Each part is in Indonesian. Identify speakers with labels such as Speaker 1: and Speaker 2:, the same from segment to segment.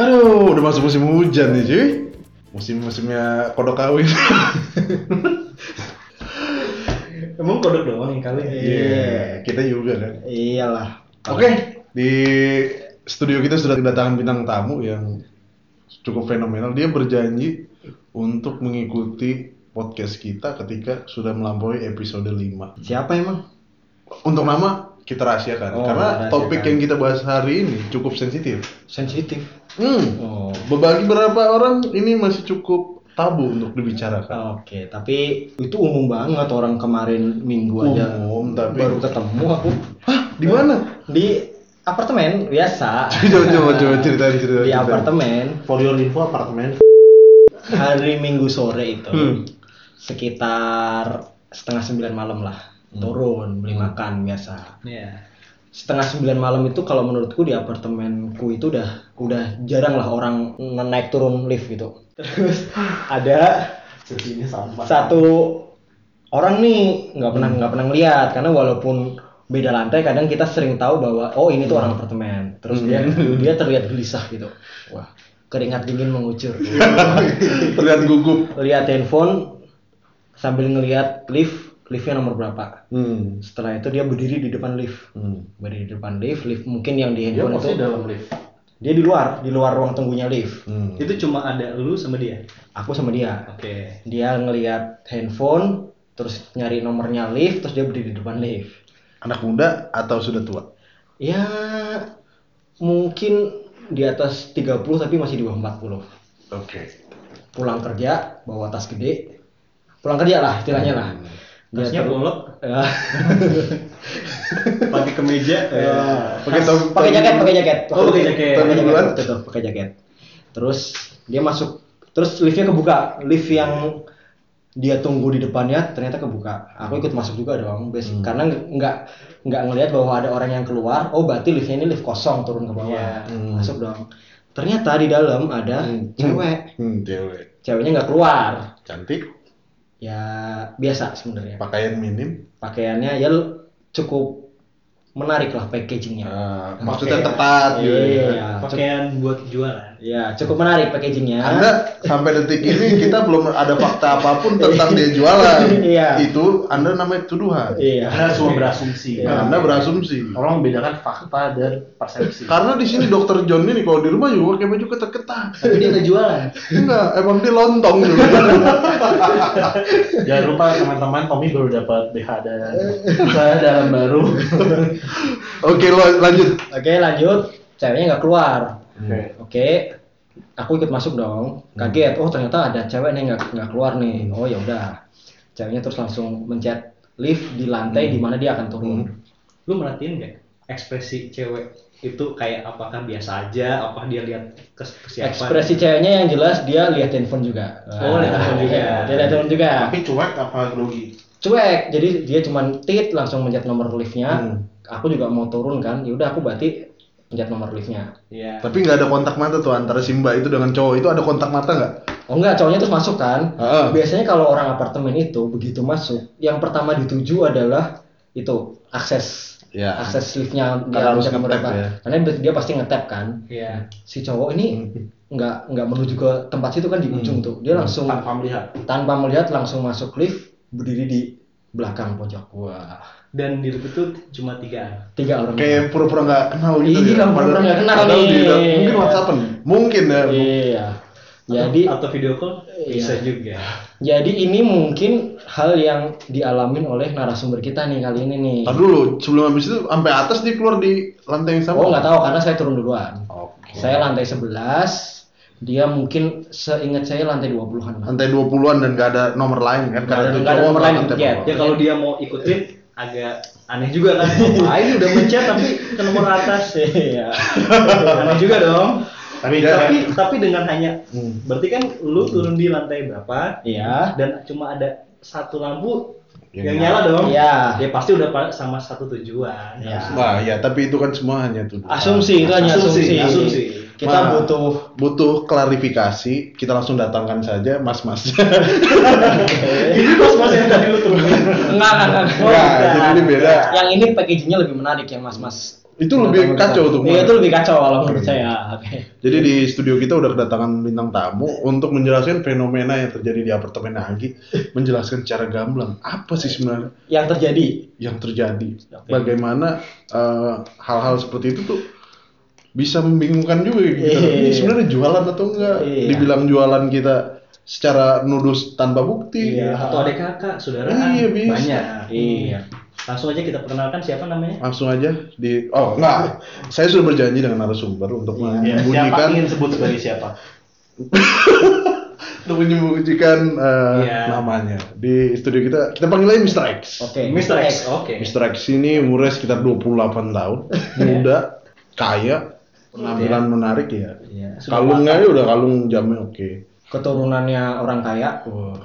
Speaker 1: Aduh, udah masuk musim hujan nih cuy. Musim-musimnya kodok kawin.
Speaker 2: Emang kodok doang yang kali.
Speaker 1: Iya, kita juga kan.
Speaker 2: Iyalah.
Speaker 1: Oke, di studio kita sudah kedatangan bintang tamu yang cukup fenomenal. Dia berjanji untuk mengikuti podcast kita ketika sudah melampaui episode 5.
Speaker 2: Siapa emang?
Speaker 1: Untuk nama kita rahasiakan
Speaker 2: Oh,
Speaker 1: karena
Speaker 2: rahasiakan.
Speaker 1: topik yang kita bahas hari ini cukup sensitif.
Speaker 2: Sensitif.
Speaker 1: Hmm.
Speaker 2: Oh.
Speaker 1: Bagi beberapa orang ini masih cukup tabu untuk dibicarakan.
Speaker 2: Oke, tapi itu umum banget orang kemarin minggu aja
Speaker 1: Umum, tapi-
Speaker 2: baru ketemu aku
Speaker 1: Hah, di mana?
Speaker 2: di apartemen biasa.
Speaker 1: Coba, coba, coba, ceritain, ceritain,
Speaker 2: Di
Speaker 1: ceritain.
Speaker 2: apartemen
Speaker 3: For your info apartemen
Speaker 2: hari Minggu sore itu
Speaker 1: Hmm.
Speaker 2: sekitar setengah sembilan malam lah
Speaker 1: Hmm.
Speaker 2: turun beli makan biasa.
Speaker 3: Iya
Speaker 2: setengah sembilan malam itu kalau menurutku di apartemenku itu udah udah jarang lah orang nge- naik turun lift gitu terus ada
Speaker 3: Sesinya sama
Speaker 2: satu orang nih nggak
Speaker 3: Hmm.
Speaker 2: pernah nggak pernah ngeliat karena walaupun beda lantai kadang kita sering tahu bahwa oh
Speaker 3: Hmm.
Speaker 2: ini tuh orang apartemen terus dia dia terlihat gelisah gitu wah keringat dingin mengucur
Speaker 3: Hmm.
Speaker 1: Terlihat gugup.
Speaker 2: lihat handphone sambil ngelihat lift liftnya nomor berapa
Speaker 1: Hmm.
Speaker 2: setelah itu dia berdiri di depan lift
Speaker 1: Hmm.
Speaker 2: berdiri di depan lift lift mungkin yang di
Speaker 3: Dia
Speaker 2: handphone
Speaker 3: pasti
Speaker 2: itu
Speaker 3: dalam lift
Speaker 2: dia di luar di luar ruang tunggunya lift
Speaker 1: Hmm.
Speaker 4: Itu cuma ada lu sama dia.
Speaker 2: aku sama dia
Speaker 4: Oke.
Speaker 2: dia ngelihat handphone terus nyari nomornya lift terus dia berdiri di depan lift
Speaker 1: Anak muda atau sudah tua?
Speaker 2: ya mungkin di atas 30 tapi masih di bawah 40
Speaker 1: Oke.
Speaker 2: pulang kerja bawa tas gede pulang kerja lah istilahnya lah Dia
Speaker 4: Tasnya
Speaker 2: ter-
Speaker 4: bolok,
Speaker 2: Ya.
Speaker 4: pakai kemeja. eh,
Speaker 1: Pakai
Speaker 2: Tas-
Speaker 1: tong-
Speaker 2: Iya. pakai jaket pakai jaket
Speaker 4: Oh, pakai jaket.
Speaker 2: pakai jaket
Speaker 1: Duluan.
Speaker 2: betul, pakai jaket terus dia masuk terus liftnya kebuka lift yang dia tunggu di depannya ternyata kebuka aku ikut masuk juga dong bes
Speaker 1: Hmm.
Speaker 2: karena nggak- nggak nggak ngelihat bahwa ada orang yang keluar oh berarti liftnya ini lift kosong turun ke bawah
Speaker 4: Iya.
Speaker 1: Hmm.
Speaker 2: masuk dong ternyata di dalam ada cewek
Speaker 1: Hmm, cewek.
Speaker 2: ceweknya nggak keluar
Speaker 1: Cantik,
Speaker 2: ya biasa sebenarnya
Speaker 1: pakaian minim.
Speaker 2: pakaiannya ya cukup menarik lah packagingnya
Speaker 1: Ah, maksudnya
Speaker 2: Iya. Oke.
Speaker 1: ketat gitu
Speaker 2: Iya,
Speaker 1: ya.
Speaker 2: cukup,
Speaker 4: Pakaian buat jualan.
Speaker 2: ya, cukup menarik packagingnya.
Speaker 1: Iya. Anda sampai detik ini kita belum ada fakta apapun tentang dia jualan.
Speaker 2: Iya.
Speaker 1: Itu Anda namanya tuduhan.
Speaker 2: Iya.
Speaker 3: Karena semua berasumsi
Speaker 1: Nah,
Speaker 4: Iya.
Speaker 1: Anda berasumsi.
Speaker 3: Tolong bedakan fakta dan persepsi
Speaker 1: Karena di sini dokter John ini kalau di rumah juga pakai baju ketat-ketat.
Speaker 4: Tapi dia nggak jualan.
Speaker 1: Enggak, emang dia lontong dulu.
Speaker 3: Jangan lupa teman-teman Tommy baru dapat BH dan Saya dalam baru
Speaker 1: Oke, lo lanjut.
Speaker 2: Oke, lanjut. Ceweknya nggak keluar.
Speaker 3: Oke
Speaker 2: Oke. Aku ikut masuk dong. Kaget. Oh, ternyata ada cewek nih nggak nggak keluar nih. Oh, ya udah. Ceweknya terus langsung mencet lift di lantai di mana dia akan turun.
Speaker 4: Lu merhatiin nggak ekspresi cewek itu kayak apakah biasa aja, apa dia lihat ke, ke siapa?
Speaker 2: Ekspresi ceweknya yang jelas dia lihat handphone juga.
Speaker 4: Oh, lihat handphone juga.
Speaker 2: Iya, Dia lihat handphone juga.
Speaker 3: Tapi cuek apa grogi?
Speaker 2: cuek jadi dia cuman tit langsung mencet nomor liftnya
Speaker 1: Hmm.
Speaker 2: aku juga mau turun kan yaudah aku berarti mencet nomor liftnya
Speaker 4: Iya.
Speaker 1: Tapi nggak ada kontak mata tuh antara Simba itu dengan cowok itu ada kontak mata nggak?
Speaker 2: oh enggak cowoknya terus masuk kan
Speaker 1: Heeh.
Speaker 2: biasanya kalau orang apartemen itu begitu masuk yang pertama dituju adalah itu akses
Speaker 1: Ya.
Speaker 2: akses liftnya
Speaker 1: Karena harus
Speaker 2: mencet nomor
Speaker 1: ngetap
Speaker 2: berapa.
Speaker 1: ya.
Speaker 2: karena dia pasti ngetap kan
Speaker 4: Iya.
Speaker 2: si cowok ini nggak nggak menuju ke tempat situ kan di
Speaker 1: Hmm.
Speaker 2: ujung tuh dia langsung
Speaker 3: Tanpa melihat
Speaker 2: tanpa melihat langsung masuk lift berdiri di belakang pojok wah
Speaker 4: Dan diri itu cuma tiga.
Speaker 2: tiga orang
Speaker 1: Kayak pura-pura nggak kenal gitu.
Speaker 2: Iya,
Speaker 1: ya.
Speaker 2: pura-pura nggak kenal
Speaker 1: Padahal
Speaker 2: nih.
Speaker 1: dia- Mungkin WhatsAppan. Mungkin ya.
Speaker 2: Iya. Jadi
Speaker 4: atau video call
Speaker 2: Iya.
Speaker 4: bisa juga.
Speaker 2: jadi ini mungkin hal yang dialamin oleh narasumber kita nih kali ini nih.
Speaker 1: Ntar dulu, sebelum habis itu sampai atas dia keluar di lantai yang sama.
Speaker 2: Oh nggak tahu karena saya turun duluan.
Speaker 1: Oke.
Speaker 2: Saya lantai 11, dia mungkin seingat saya lantai 20-an lah.
Speaker 1: Lantai 20-an dan nggak ada nomor lain kan?
Speaker 2: Nggak ada-
Speaker 1: tuh
Speaker 2: nggak ada
Speaker 1: cowok
Speaker 2: nomor lain,
Speaker 1: lantai
Speaker 2: iya.
Speaker 1: bawah.
Speaker 4: Ya kalau dia mau ikutin agak aneh juga kan. Ngapain udah mencet tapi ke nomor atas. ya.
Speaker 2: Iya.
Speaker 4: aneh juga dong.
Speaker 3: Tapi,
Speaker 4: tapi
Speaker 3: tapi
Speaker 4: tapi dengan hanya
Speaker 1: Hmm.
Speaker 4: berarti kan lu turun di lantai berapa
Speaker 2: Iya.
Speaker 4: dan cuma ada satu lampu
Speaker 1: Yang
Speaker 4: yang nyala dong
Speaker 2: Iya.
Speaker 4: ya pasti udah pa- sama satu tujuan
Speaker 2: Iya.
Speaker 1: Wah, ya tapi itu kan semua hanya tuh.
Speaker 2: Ah. Asumsi itu hanya asumsi.
Speaker 4: Asumsi, asumsi.
Speaker 2: Kita
Speaker 1: Nah.
Speaker 2: butuh
Speaker 1: Butuh klarifikasi, kita langsung datangkan saja mas-mas.
Speaker 4: ini bos bos yang tadi lu turunin
Speaker 2: enggak enggak. enggak.
Speaker 1: Nah, jadi ini beda.
Speaker 2: Yang ini packagingnya lebih menarik ya mas-mas
Speaker 1: Itu lebih kacau tuh.
Speaker 2: Iya, itu lebih kacau kalau menurut saya. Oke.
Speaker 1: Jadi di studio kita udah kedatangan bintang tamu untuk menjelaskan fenomena yang terjadi di apartemen Agi, menjelaskan secara gamblang apa sih sebenarnya
Speaker 2: Yang terjadi
Speaker 1: yang terjadi,
Speaker 2: Oke.
Speaker 1: bagaimana eh, hal-hal seperti itu tuh bisa membingungkan juga gitu.
Speaker 2: Iya.
Speaker 1: Ini sebenarnya jualan atau enggak?
Speaker 2: Iya.
Speaker 1: Dibilang jualan kita secara nudus tanpa bukti.
Speaker 2: Iya.
Speaker 4: atau ada kakak, saudaraan,
Speaker 1: Iya, bisa.
Speaker 4: banyak.
Speaker 2: Iya.
Speaker 4: Langsung aja kita perkenalkan siapa namanya?
Speaker 1: Langsung aja di oh enggak, saya sudah berjanji dengan narasumber untuk
Speaker 2: Iya.
Speaker 3: Ya, siapa
Speaker 1: menyembunyikan
Speaker 3: ingin sebut sebagai siapa?
Speaker 1: untuk menyembunyikan eh,
Speaker 4: Iya.
Speaker 1: namanya di studio kita kita panggil aja Mr. X.
Speaker 2: Oke.
Speaker 4: Mr. X. Oke.
Speaker 1: Mr. X ini umurnya sekitar 28 tahun, muda, kaya, penampilan menarik ya.
Speaker 2: Iya.
Speaker 1: Kalungnya ya udah kalung jamnya oke.
Speaker 2: Keturunannya orang kaya
Speaker 1: Wah,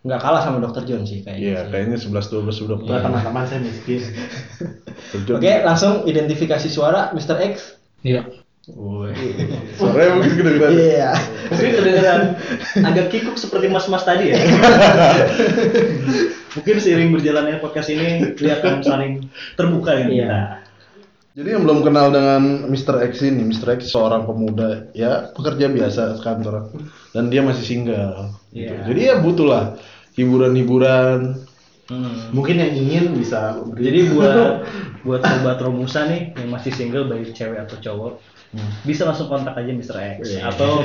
Speaker 2: nggak kalah sama Dr. John sih
Speaker 1: iya
Speaker 2: kayaknya.
Speaker 1: kayaknya 11 12 sudah
Speaker 3: Buat
Speaker 1: pernah.
Speaker 3: teman-teman saya miskin.
Speaker 1: Kerja.
Speaker 2: Iya. gitu. Oke, langsung identifikasi suara Mr. X.
Speaker 4: Iya.
Speaker 1: Woi. Suaranya mungkin gitu gitu.
Speaker 2: Iya.
Speaker 4: Mungkin kedengeran agak kikuk seperti mas-mas tadi ya. Mungkin seiring berjalannya podcast ini kelihatan saling terbuka ya.
Speaker 2: Iya.
Speaker 1: Jadi yang belum kenal dengan Mr. X ini, Mr. X seorang pemuda ya pekerja biasa kantor dan dia masih single. gitu.
Speaker 4: Iya.
Speaker 1: Jadi ya butuh lah hiburan-hiburan.
Speaker 2: Hmm.
Speaker 3: Mungkin yang ingin bisa
Speaker 4: Jadi buat buat sobat Romusa nih yang masih single baik cewek atau cowok bisa langsung kontak aja Mr. X
Speaker 2: Iya.
Speaker 4: atau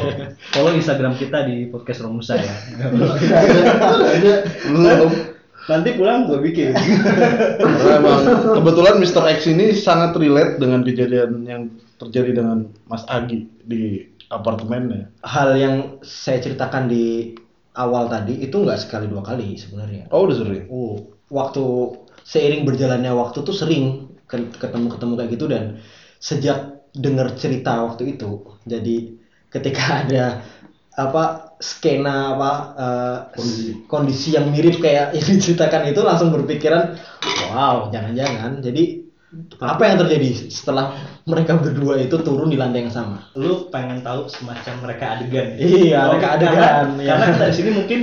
Speaker 4: follow Instagram kita di podcast Romusa ya.
Speaker 1: Belum.
Speaker 4: Nanti pulang gue bikin.
Speaker 1: Karena emang kebetulan Mr. X ini sangat relate dengan kejadian yang terjadi dengan Mas Agi di apartemennya.
Speaker 2: Hal yang saya ceritakan di awal tadi itu nggak sekali dua kali sebenarnya.
Speaker 1: Oh udah sering.
Speaker 2: Oh, waktu seiring berjalannya waktu tuh sering ke- ketemu-ketemu kayak gitu dan sejak dengar cerita waktu itu, jadi ketika ada apa skena apa eh, kondisi. yang mirip kayak yang diceritakan itu langsung berpikiran, wow, jangan-jangan. Jadi apa yang terjadi setelah mereka berdua itu turun di lantai yang sama?
Speaker 4: Lu pengen tahu semacam mereka adegan.
Speaker 2: Iya,
Speaker 4: Kalau-
Speaker 2: mereka
Speaker 4: karena-
Speaker 2: adegan, iya.
Speaker 4: Karena kita di sini mungkin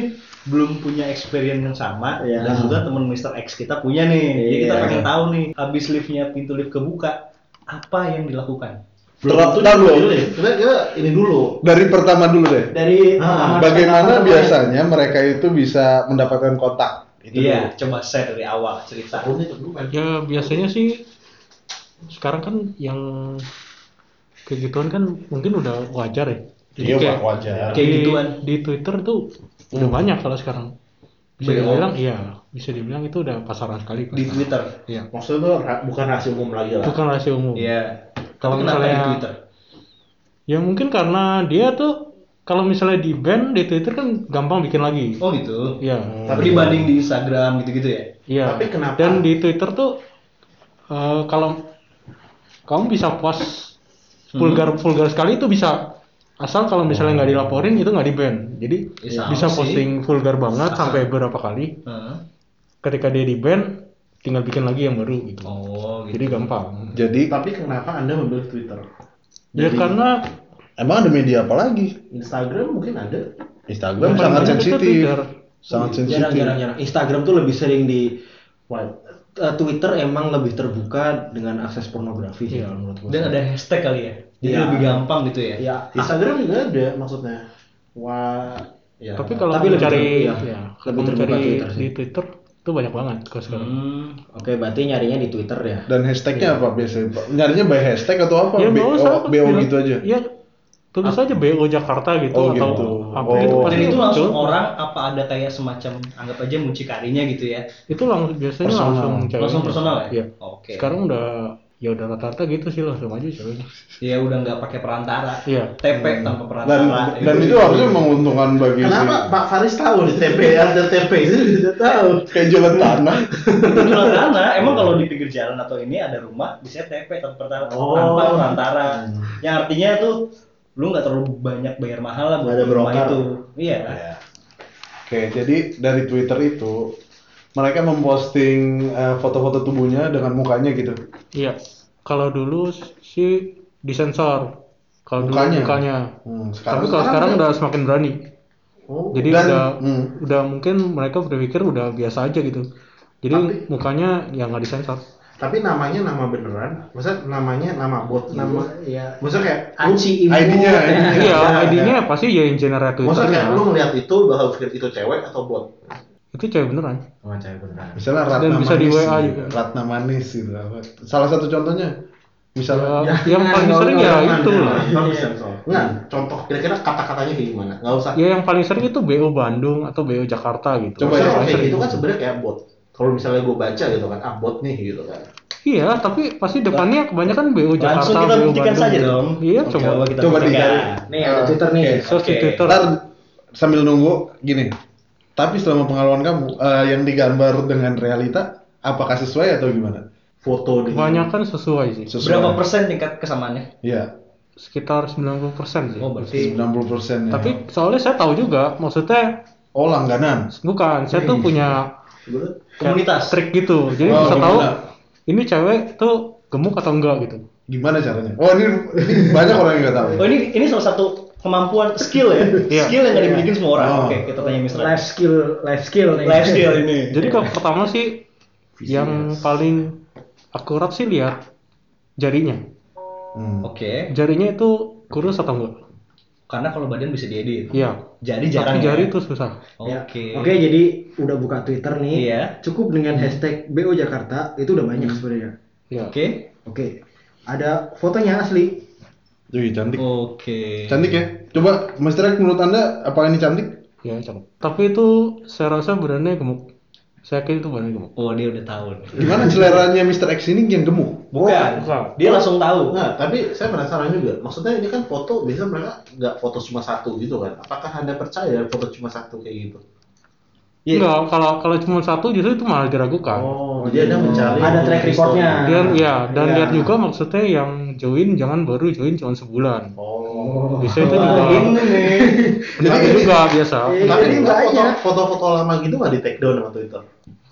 Speaker 4: belum punya experience yang sama
Speaker 2: Iya.
Speaker 4: dan juga teman Mr. X kita punya nih. Jadi kita
Speaker 2: Iya.
Speaker 4: pengen tahu nih habis liftnya pintu lift kebuka apa yang dilakukan.
Speaker 1: Terlalu
Speaker 3: Itu dulu
Speaker 1: dulu.
Speaker 3: deh. Kita, kita ini dulu.
Speaker 1: Dari pertama dulu deh.
Speaker 2: Nah, Dari
Speaker 3: Ah,
Speaker 1: Bagaimana biasanya mereka itu bisa mendapatkan kontak? Itu
Speaker 4: Iya, coba share dari awal cerita.
Speaker 3: Tahunnya kedua.
Speaker 5: Ya biasanya sih sekarang kan yang kegituan kan mungkin udah wajar ya. Jadi
Speaker 1: Iya,
Speaker 5: kayak
Speaker 1: Pak, wajar. Hmm.
Speaker 5: di,
Speaker 4: Kegituan.
Speaker 5: di Twitter tuh udah banyak kalau sekarang. Bisa
Speaker 1: Banyak
Speaker 5: dibilang iya, bisa dibilang itu udah pasaran sekali.
Speaker 4: di Twitter.
Speaker 5: Iya.
Speaker 3: Maksudnya tuh ra- bukan rahasia umum lagi lah.
Speaker 5: Bukan rahasia umum.
Speaker 4: Iya.
Speaker 5: Kalau
Speaker 4: Kenapa
Speaker 5: misalnya-
Speaker 4: di Twitter?
Speaker 5: Ya mungkin karena dia tuh kalau misalnya di ban di Twitter kan gampang bikin lagi.
Speaker 4: Oh gitu.
Speaker 5: Iya.
Speaker 4: Tapi dibanding di Instagram gitu-gitu ya.
Speaker 5: Iya.
Speaker 3: Tapi kenapa?
Speaker 5: Dan di Twitter tuh eh, kalau kamu bisa post vulgar vulgar sekali itu bisa asal kalau misalnya nggak dilaporin itu nggak di ban. Jadi
Speaker 4: Ya, sama
Speaker 5: bisa
Speaker 4: sih.
Speaker 5: posting vulgar banget
Speaker 4: Sama.
Speaker 5: sampai berapa kali. Ketika dia di ban, tinggal bikin lagi yang baru gitu.
Speaker 4: Oh gitu.
Speaker 5: Jadi gampang.
Speaker 1: Jadi
Speaker 3: Tapi kenapa Anda memilih Twitter?
Speaker 5: Ya karena
Speaker 1: emang ada media apa lagi?
Speaker 3: Instagram mungkin ada.
Speaker 1: Instagram sangat
Speaker 5: Yang paling banyak itu
Speaker 1: sensitif.
Speaker 5: Twitter.
Speaker 1: Sangat sensitif.
Speaker 2: Iya, jarang-jarang Instagram tuh lebih sering di
Speaker 3: Why?
Speaker 2: eh, Twitter emang lebih terbuka dengan akses pornografi sih
Speaker 5: Iya.
Speaker 2: kalau menurut gue.
Speaker 4: Dan ada hashtag kali ya. Jadi
Speaker 2: Iya.
Speaker 4: lebih gampang gitu ya.
Speaker 2: ya
Speaker 3: Instagram juga ada maksudnya. Wah. Ya.
Speaker 5: tapi kalau
Speaker 2: Tapi
Speaker 5: kamu
Speaker 2: lebih
Speaker 5: cari
Speaker 2: terbuka, iya.
Speaker 5: ya,
Speaker 2: Lebih
Speaker 5: kamu
Speaker 2: terbuka
Speaker 5: cari
Speaker 2: Twitter sih.
Speaker 5: di Twitter itu banyak banget kalau sekarang.
Speaker 4: Hmm.
Speaker 2: oke berarti nyarinya di Twitter ya.
Speaker 1: Dan hashtagnya apa biasanya? Pak? Nyarinya by hashtag atau apa?
Speaker 5: Iya. Ya
Speaker 1: BO,
Speaker 5: nggak usah aku
Speaker 1: BO
Speaker 5: bilang-
Speaker 1: gitu aja.
Speaker 5: Ya tulis aja BO Jakarta gitu
Speaker 1: Oh,
Speaker 5: atau
Speaker 1: gitu.
Speaker 5: apa
Speaker 1: Oh.
Speaker 5: gitu pasti
Speaker 4: Dan itu
Speaker 5: muncul.
Speaker 4: langsung orang apa ada kayak semacam anggap aja muncikarinya gitu ya.
Speaker 5: Itu langsung biasanya
Speaker 1: Personal.
Speaker 5: langsung ceweknya.
Speaker 4: Langsung personal ya?
Speaker 5: Iya.
Speaker 4: Oke.
Speaker 5: Sekarang udah ya udah rata-rata gitu sih langsung aja ceweknya.
Speaker 4: Ya udah nggak pakai perantara.
Speaker 5: Iya.
Speaker 4: TP tanpa
Speaker 1: Hmm. Dan
Speaker 4: perantara.
Speaker 1: dan itu harusnya menguntungkan bagi si-
Speaker 3: Kenapa Pak Faris tahu di TP
Speaker 2: Ya,
Speaker 3: ada TP itu tidak tahu.
Speaker 1: kayak jualan tanah.
Speaker 4: Itu perantara. Emang kalau di pinggir jalan atau ini ada rumah bisa TP tanpa perantara.
Speaker 3: Oh.
Speaker 4: Tanpa perantara.
Speaker 5: Hmm.
Speaker 4: Yang artinya tuh lu nggak terlalu banyak bayar mahal lah buat
Speaker 3: Nggak ada
Speaker 4: rumah
Speaker 3: broker.
Speaker 4: itu. Iya.
Speaker 1: Oke, jadi dari Twitter itu mereka memposting eh, foto-foto tubuhnya dengan mukanya gitu.
Speaker 5: Iya. Kalau dulu sih disensor. Kalau dulu
Speaker 1: Mukanya.
Speaker 5: mukanya.
Speaker 1: Hmm,
Speaker 5: Tapi
Speaker 1: sekarang
Speaker 5: kalau sekarang udah semakin berani.
Speaker 3: Oh.
Speaker 5: Jadi
Speaker 1: Dan-
Speaker 5: udah
Speaker 1: hmm.
Speaker 5: udah mungkin mereka berpikir udah biasa aja gitu. Jadi mukanya ya nggak disensor.
Speaker 1: Tapi namanya nama beneran, maksudnya namanya nama bot, nama
Speaker 2: ya
Speaker 4: Iya.
Speaker 1: maksudnya kayak
Speaker 2: Aci, Ibu.
Speaker 1: ID-nya, ID-nya.
Speaker 5: Iya,
Speaker 1: Iya,
Speaker 5: ID-nya pasti ya yang generate
Speaker 1: Maksudnya kayak lu
Speaker 2: Iya.
Speaker 5: Twitter.
Speaker 1: ngeliat itu bakal pikir itu cewek atau bot?
Speaker 5: Itu cewek beneran.
Speaker 2: sama Oh, cewek beneran
Speaker 1: Misalnya
Speaker 5: Dan
Speaker 1: Ratna
Speaker 5: bisa di
Speaker 1: Manis,
Speaker 5: WA
Speaker 1: gitu.
Speaker 5: juga.
Speaker 1: Ratna Manis gitu. apa. Salah satu contohnya misalnya
Speaker 5: Ya, yang paling sering ya itu lah.
Speaker 1: Nah, contoh kira-kira kata-katanya kayak gimana? Nggak usah.
Speaker 5: Ya yang paling sering itu BO Bandung atau BO Jakarta gitu.
Speaker 1: Coba
Speaker 5: Yang
Speaker 1: ya,
Speaker 5: paling
Speaker 1: kayak
Speaker 5: sering.
Speaker 1: gitu kan sebenarnya kayak bot. Kalau misalnya gue baca gitu kan, ah bot nih gitu kan.
Speaker 5: Iya, tapi pasti depannya kebanyakan BO Jakarta,
Speaker 4: Langsung kita
Speaker 5: BO
Speaker 4: buktikan
Speaker 5: Bandung.
Speaker 4: saja dong.
Speaker 5: Iya,
Speaker 4: Oke,
Speaker 5: coba.
Speaker 4: kita
Speaker 1: Coba
Speaker 4: buktikan.
Speaker 1: dicari.
Speaker 2: nih ada
Speaker 1: Ah,
Speaker 2: Twitter nih
Speaker 5: Search di
Speaker 4: Oke.
Speaker 5: Twitter.
Speaker 1: Ntar sambil nunggu gini. Tapi selama pengalaman kamu eh, yang digambar dengan realita, apakah sesuai atau gimana? Foto
Speaker 5: Kebanyakan sesuai sih.
Speaker 1: sesuai.
Speaker 4: Berapa persen tingkat kesamaannya?
Speaker 1: Iya,
Speaker 5: Sekitar 90% sih.
Speaker 4: Oh, berarti
Speaker 1: 90 persen.
Speaker 5: Tapi soalnya saya tahu juga, maksudnya
Speaker 1: oh langganan.
Speaker 5: bukan, saya tuh punya
Speaker 4: Iya. komunitas.
Speaker 5: trik gitu. Jadi
Speaker 1: Oh,
Speaker 5: bisa tahu
Speaker 1: gimana?
Speaker 5: ini cewek tuh gemuk atau enggak gitu.
Speaker 1: Gimana caranya? Oh ini, ini banyak orang yang nggak tahu.
Speaker 4: Oh ini ini salah satu kemampuan skill ya.
Speaker 5: Iya.
Speaker 4: Skill yang gak dimiliki semua orang.
Speaker 1: Oh.
Speaker 4: Oke, kita tanya Mister.
Speaker 2: life skill life skill nih
Speaker 4: Life skill ini.
Speaker 5: Jadi kalau pertama sih yang paling akurat sih lihat jarinya.
Speaker 1: Hmm.
Speaker 4: Oke,
Speaker 5: Jarinya itu kurus atau enggak?
Speaker 4: karena kalau badan bisa diedit.
Speaker 5: Iya.
Speaker 4: Jadi jarang.
Speaker 5: Pakai
Speaker 4: ya?
Speaker 5: jari itu susah.
Speaker 4: Oke.
Speaker 6: Iya.
Speaker 2: Ya. Oke, jadi udah buka Twitter nih.
Speaker 4: Iya. Hmm.
Speaker 2: Cukup dengan hashtag BO Jakarta itu udah banyak sebenarnya.
Speaker 5: Iya.
Speaker 4: Oke.
Speaker 2: Oke. Ada fotonya asli.
Speaker 1: Jadi cantik.
Speaker 4: Oh. Oke.
Speaker 1: Cantik ya? Coba Mas Derek menurut Anda apakah ini cantik?
Speaker 5: Iya, cakep. Tapi itu saya rasa badannya gemuk. Saya yakin itu badannya gemuk.
Speaker 4: Oh, dia udah tahu. nih.
Speaker 1: Gimana seleranya Mr. X ini yang gemuk?
Speaker 4: Bukan.
Speaker 5: bukan.
Speaker 4: Dia langsung tahu.
Speaker 6: Nah, tapi saya penasaran juga. Maksudnya ini kan foto, biasanya mereka nggak foto cuma satu gitu kan. Apakah Anda percaya foto cuma satu kayak gitu?
Speaker 4: Iya.
Speaker 5: Enggak, kalau kalau cuma satu justru itu malah diragukan.
Speaker 6: Oh, jadi Anda mencari.
Speaker 2: Ada track
Speaker 6: foto
Speaker 2: recordnya.
Speaker 6: history.
Speaker 5: Dan ya, dan
Speaker 2: Iya.
Speaker 5: lihat juga maksudnya yang join jangan baru join cuma sebulan.
Speaker 6: Oh.
Speaker 5: Bisa itu juga. Pengaruh
Speaker 1: Jadi-
Speaker 5: juga biasa.
Speaker 2: Iya,
Speaker 6: Tapi
Speaker 2: jadi
Speaker 6: itu
Speaker 2: nggak
Speaker 6: foto-
Speaker 2: aja.
Speaker 6: foto-foto lama gitu nggak di take down sama Twitter.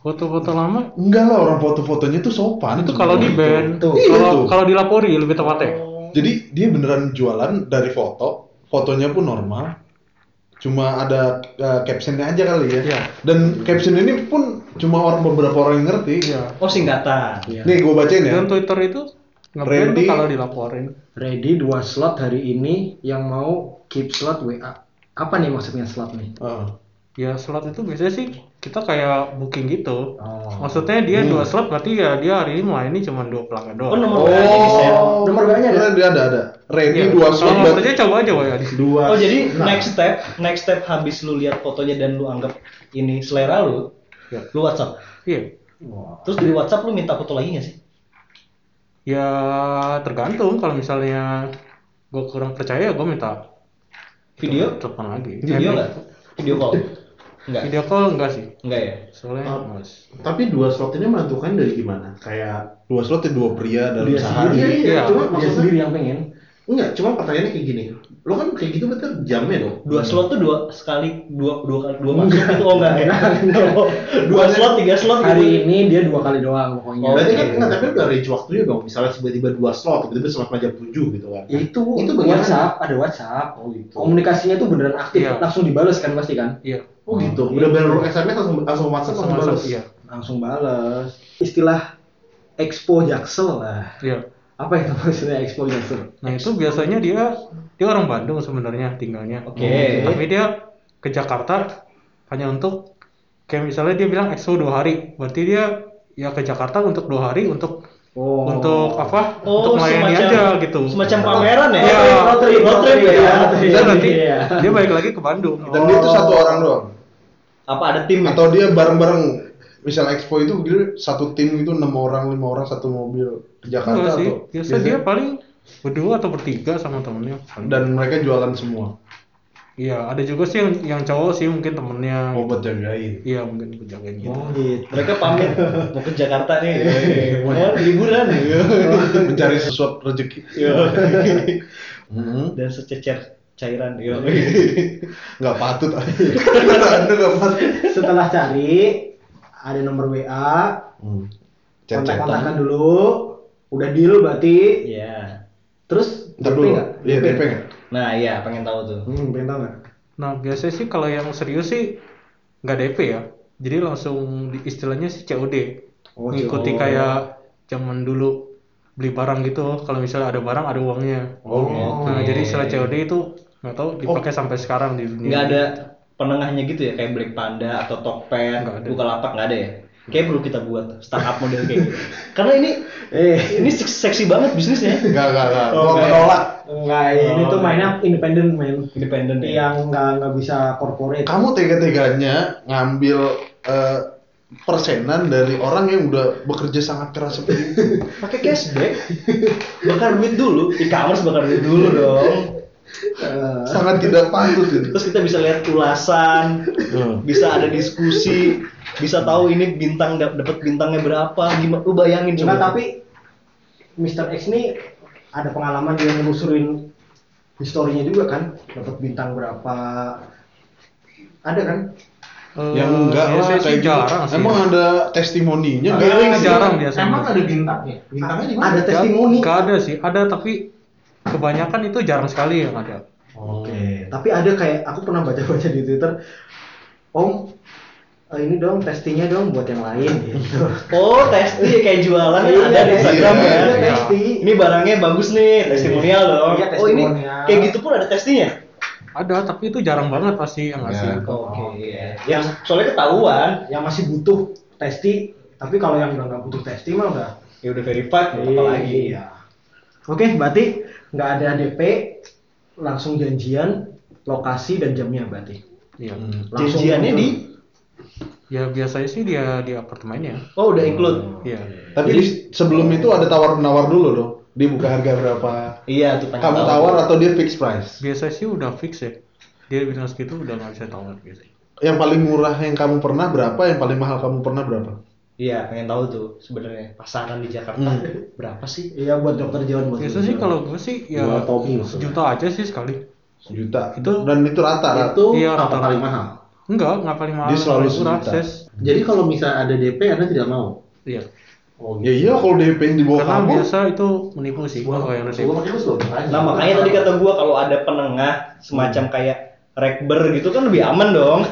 Speaker 5: Foto-foto lama
Speaker 1: Enggak lah orang foto-fotonya tuh sopan.
Speaker 5: itu kalau di band,
Speaker 2: Tuh.
Speaker 1: Iya, tuh.
Speaker 5: kalau kalau dilapori lebih tepatnya.
Speaker 1: Jadi dia beneran jualan dari foto, fotonya pun normal. Cuma ada eh, captionnya aja kali ya.
Speaker 5: Iya.
Speaker 1: Dan caption ini pun cuma orang beberapa orang yang ngerti.
Speaker 5: Iya.
Speaker 4: Oh, singkatan.
Speaker 1: Nih gue bacain ya.
Speaker 5: Dan Twitter itu ngeband
Speaker 1: Ready.
Speaker 5: tuh kalau dilaporin.
Speaker 2: Ready dua slot hari ini yang mau keep slot WA. Apa nih maksudnya slot nih?
Speaker 1: Heeh.
Speaker 5: Ya slot itu biasanya sih kita kayak booking gitu.
Speaker 2: Oh.
Speaker 5: Maksudnya dia dua slot berarti ya dia hari ini melayani cuma dua pelanggan
Speaker 4: Oh,
Speaker 5: doang.
Speaker 4: nomor WA nya di
Speaker 6: ya.
Speaker 4: share.
Speaker 1: Oh,
Speaker 2: Nomor WA-nya ada?
Speaker 1: Ada ada. ada. Ready
Speaker 5: Iya.
Speaker 1: dua
Speaker 5: Kalau
Speaker 1: slot
Speaker 5: nggak
Speaker 1: buat-
Speaker 5: percaya coba aja ya di situ.
Speaker 4: Oh, jadi
Speaker 2: Nah.
Speaker 4: next step, next step habis lu lihat fotonya dan lu anggap ini selera lu,
Speaker 5: Ya.
Speaker 4: lu WhatsApp.
Speaker 5: Iya.
Speaker 4: Terus dari WhatsApp lu minta foto lagi gak sih?
Speaker 5: Ya tergantung kalau misalnya gue kurang percaya gue minta
Speaker 4: Video?
Speaker 5: telepon lagi.
Speaker 4: Video
Speaker 5: Eh,
Speaker 4: nggak? Video call? Enggak.
Speaker 5: Video call enggak sih?
Speaker 4: Enggak ya?
Speaker 5: Soalnya
Speaker 6: Oh.
Speaker 5: males.
Speaker 6: Tapi dua slot ini menentukan dari gimana? Kayak
Speaker 1: dua slot ya dua pria dalam sehari.
Speaker 6: Iya, iya,
Speaker 5: Iya.
Speaker 6: cuma
Speaker 2: Dia
Speaker 6: maksudnya
Speaker 2: sendiri yang pengen.
Speaker 6: enggak, cuma pertanyaannya kayak gini. Lo kan kayak gitu betul jamnya dong.
Speaker 4: Dua slot tuh dua sekali dua dua kali dua masuk itu oh enggak ya. dua slot tiga slot
Speaker 2: Hari
Speaker 4: gitu.
Speaker 2: ini dia dua kali doang pokoknya.
Speaker 4: Oh,
Speaker 6: Berarti
Speaker 4: iya.
Speaker 6: kan enggak, tapi udah range waktunya dong. Misalnya tiba-tiba dua slot, tiba-tiba sampai jam 7 gitu kan.
Speaker 2: Ya
Speaker 1: Iya.
Speaker 2: itu,
Speaker 6: Itu
Speaker 2: itu
Speaker 6: bagaimana?
Speaker 2: WhatsApp, ada WhatsApp.
Speaker 6: Oh gitu.
Speaker 2: Komunikasinya tuh beneran aktif,
Speaker 5: Iya.
Speaker 2: langsung dibales kan pasti kan?
Speaker 5: Iya.
Speaker 6: Oh gitu. Udah bener lu SMS langsung langsung WhatsApp langsung
Speaker 5: Sama-sama,
Speaker 6: balas.
Speaker 5: Iya.
Speaker 2: Langsung bales. Istilah expo jaksel lah.
Speaker 5: Iya.
Speaker 2: apa itu maksudnya expo jaksel?
Speaker 5: Nah itu biasanya dia dia orang Bandung sebenarnya tinggalnya.
Speaker 4: Oke.
Speaker 5: Iya, Tapi dia ke Jakarta hanya untuk kayak misalnya dia bilang EXO dua hari, berarti dia ya ke Jakarta untuk dua hari untuk
Speaker 2: Oh.
Speaker 5: untuk apa?
Speaker 4: Oh,
Speaker 5: untuk melayani
Speaker 4: semacam-
Speaker 5: aja gitu.
Speaker 4: Semacam pameran ya?
Speaker 5: Iya.
Speaker 4: Road trip, road trip ya.
Speaker 5: Dia nanti
Speaker 2: Iya.
Speaker 5: dia balik lagi ke Bandung. Oh,
Speaker 1: Dan dia itu satu orang doang.
Speaker 4: Apa ada tim? ya?
Speaker 1: Atau dia bareng-bareng misal expo itu gitu, satu tim itu enam orang lima orang satu mobil ke
Speaker 5: Enggak
Speaker 1: Jakarta
Speaker 5: Iya
Speaker 1: Iya.
Speaker 5: sih.
Speaker 1: atau
Speaker 5: Biasa dia paling berdua atau bertiga sama temennya.
Speaker 1: dan mereka jualan semua
Speaker 5: Iya, ada juga sih yang, yang cowok sih mungkin temennya.
Speaker 1: obat jagain.
Speaker 5: Iya, mungkin penjagain gitu.
Speaker 4: Oh, gitu. Mereka pamit mau ke Jakarta nih.
Speaker 5: Iya,
Speaker 4: Mau liburan
Speaker 1: ya.
Speaker 2: Oh,
Speaker 1: mencari sesuap rezeki. Mhm.
Speaker 4: Dan sececer cairan. Yo.
Speaker 5: Iya.
Speaker 1: Nggak patut. Anda nggak patut.
Speaker 2: Setelah cari ada nomor WA,
Speaker 1: Hmm.
Speaker 2: kontak-kontakan dulu, udah deal berarti.
Speaker 4: Iya.
Speaker 2: Terus
Speaker 1: Ntar dulu.
Speaker 2: nggak?
Speaker 1: Iya, DP nggak?
Speaker 4: Nah, iya pengen tahu tuh.
Speaker 2: Hmm, pengen tahu nggak?
Speaker 5: Nah, biasanya sih kalau yang serius sih nggak DP ya. Jadi langsung di, istilahnya sih COD.
Speaker 2: Oh,
Speaker 5: Ngikuti
Speaker 2: COD.
Speaker 5: kayak zaman dulu beli barang gitu kalau misalnya ada barang ada uangnya
Speaker 1: Oh,
Speaker 5: nah, jadi istilah COD itu nggak tahu dipakai sampai sekarang di dunia
Speaker 4: nggak ada penengahnya gitu ya kayak Black Panda atau
Speaker 5: Nggak
Speaker 4: Tokped
Speaker 5: ada.
Speaker 4: Bukalapak nggak ada ya kayak perlu kita buat startup model kayak gitu
Speaker 3: Karena ini
Speaker 2: Eh.
Speaker 4: ini seks- seksi banget bisnisnya
Speaker 1: Enggak, enggak, enggak.
Speaker 4: Oh,
Speaker 1: Gua
Speaker 4: enggak.
Speaker 1: menolak.
Speaker 2: Enggak, ini
Speaker 6: Oh,
Speaker 2: tuh mainnya
Speaker 6: iya.
Speaker 2: independen main.
Speaker 4: independen
Speaker 5: Iya.
Speaker 4: ya
Speaker 2: Yang enggak enggak bisa corporate.
Speaker 1: Kamu tega-teganya ngambil eh, persenan dari orang yang udah bekerja sangat keras seperti itu.
Speaker 4: pakai cashback bakar duit dulu e-commerce bakar duit dulu dong
Speaker 1: sangat tidak patut itu.
Speaker 4: terus kita bisa lihat ulasan bisa ada diskusi bisa tahu ini bintang dapat bintangnya berapa gimana lu bayangin
Speaker 2: Enggak, tapi Mr. X ini ada pengalaman dia nelusurin historinya juga kan, dapat bintang berapa. Ada kan?
Speaker 5: Eh,
Speaker 1: Ya enggak
Speaker 5: ya,
Speaker 1: lah
Speaker 5: saya sih
Speaker 1: kayak gitu.
Speaker 5: jarang sih
Speaker 1: Emang ada testimoninya
Speaker 5: Ada,
Speaker 1: enggak?
Speaker 5: jarang, biasanya
Speaker 6: Emang ada bintangnya? Bintangnya di mana?
Speaker 2: Ada testimoni.
Speaker 5: Nggak ada sih ada tapi kebanyakan itu jarang sekali yang ada
Speaker 2: Oke, tapi ada kayak aku pernah baca-baca di Twitter, Om eh, ini dong testinya dong buat yang lain gitu. Kan
Speaker 4: oh testi kayak
Speaker 6: Iya,
Speaker 4: jualan ya, yang ada di Instagram
Speaker 1: iya,
Speaker 4: ya
Speaker 2: Ada testi.
Speaker 4: ini barangnya bagus nih testimonial dong
Speaker 2: Iya,
Speaker 4: oh ini
Speaker 2: testimonial.
Speaker 4: kayak gitu pun ada testinya
Speaker 5: ada tapi itu jarang banget pasti yang ngasih
Speaker 1: Ya.
Speaker 4: Oke.
Speaker 6: iya.
Speaker 4: Yang soalnya ketahuan,
Speaker 2: Yang masih butuh testi, tapi kalau yang udah nggak butuh testi mah udah
Speaker 4: ya udah verified, apa lagi?
Speaker 2: Iya. Oke, berarti nggak ada DP, langsung janjian lokasi dan jamnya berarti.
Speaker 5: Iya.
Speaker 2: Langsung
Speaker 4: Janjiannya di
Speaker 2: muncul.
Speaker 5: ya biasanya sih dia di apartemennya
Speaker 4: Oh, udah include.
Speaker 1: Hmm.
Speaker 5: Iya.
Speaker 1: Tapi di- sebelum itu ada tawar menawar dulu loh. Dia buka harga berapa?
Speaker 4: Iya, tuh pengen
Speaker 1: Kamu
Speaker 4: tahu.
Speaker 1: tawar atau dia fix price?
Speaker 5: biasanya sih udah fix ya dia bilang segitu udah nggak bisa gitu. tawar biasanya
Speaker 1: Yang paling murah yang kamu pernah berapa? Yang paling mahal kamu pernah berapa?
Speaker 4: Iya, pengen tahu tuh sebenarnya pasaran di Jakarta
Speaker 1: Hmm.
Speaker 4: berapa sih?
Speaker 2: Iya buat dokter John buat.
Speaker 5: biasanya sih kalau gue sih ya
Speaker 6: Dua topi maksudnya.
Speaker 5: sejuta aja sih sekali
Speaker 1: Sejuta.
Speaker 5: Itu-
Speaker 1: dan itu rata. rata.
Speaker 6: Itu
Speaker 5: Iya,
Speaker 6: apa
Speaker 5: rata-rata.
Speaker 6: paling mahal?
Speaker 5: enggak nggak paling mahal
Speaker 1: Dia selalu
Speaker 5: paling murah
Speaker 1: sejuta.
Speaker 5: ses
Speaker 6: Jadi kalau misalnya ada DP, Anda tidak mau?
Speaker 5: iya
Speaker 2: Oh,
Speaker 1: Ya iya kalau DP di bawah
Speaker 5: karena
Speaker 1: kamu.
Speaker 5: biasa itu menipu sih kalau yang
Speaker 6: Gua
Speaker 5: nipu
Speaker 6: pakai lu
Speaker 4: Nah, makanya tadi kata gua kalau ada penengah semacam
Speaker 1: Hmm.
Speaker 4: kayak rekber gitu kan lebih aman dong.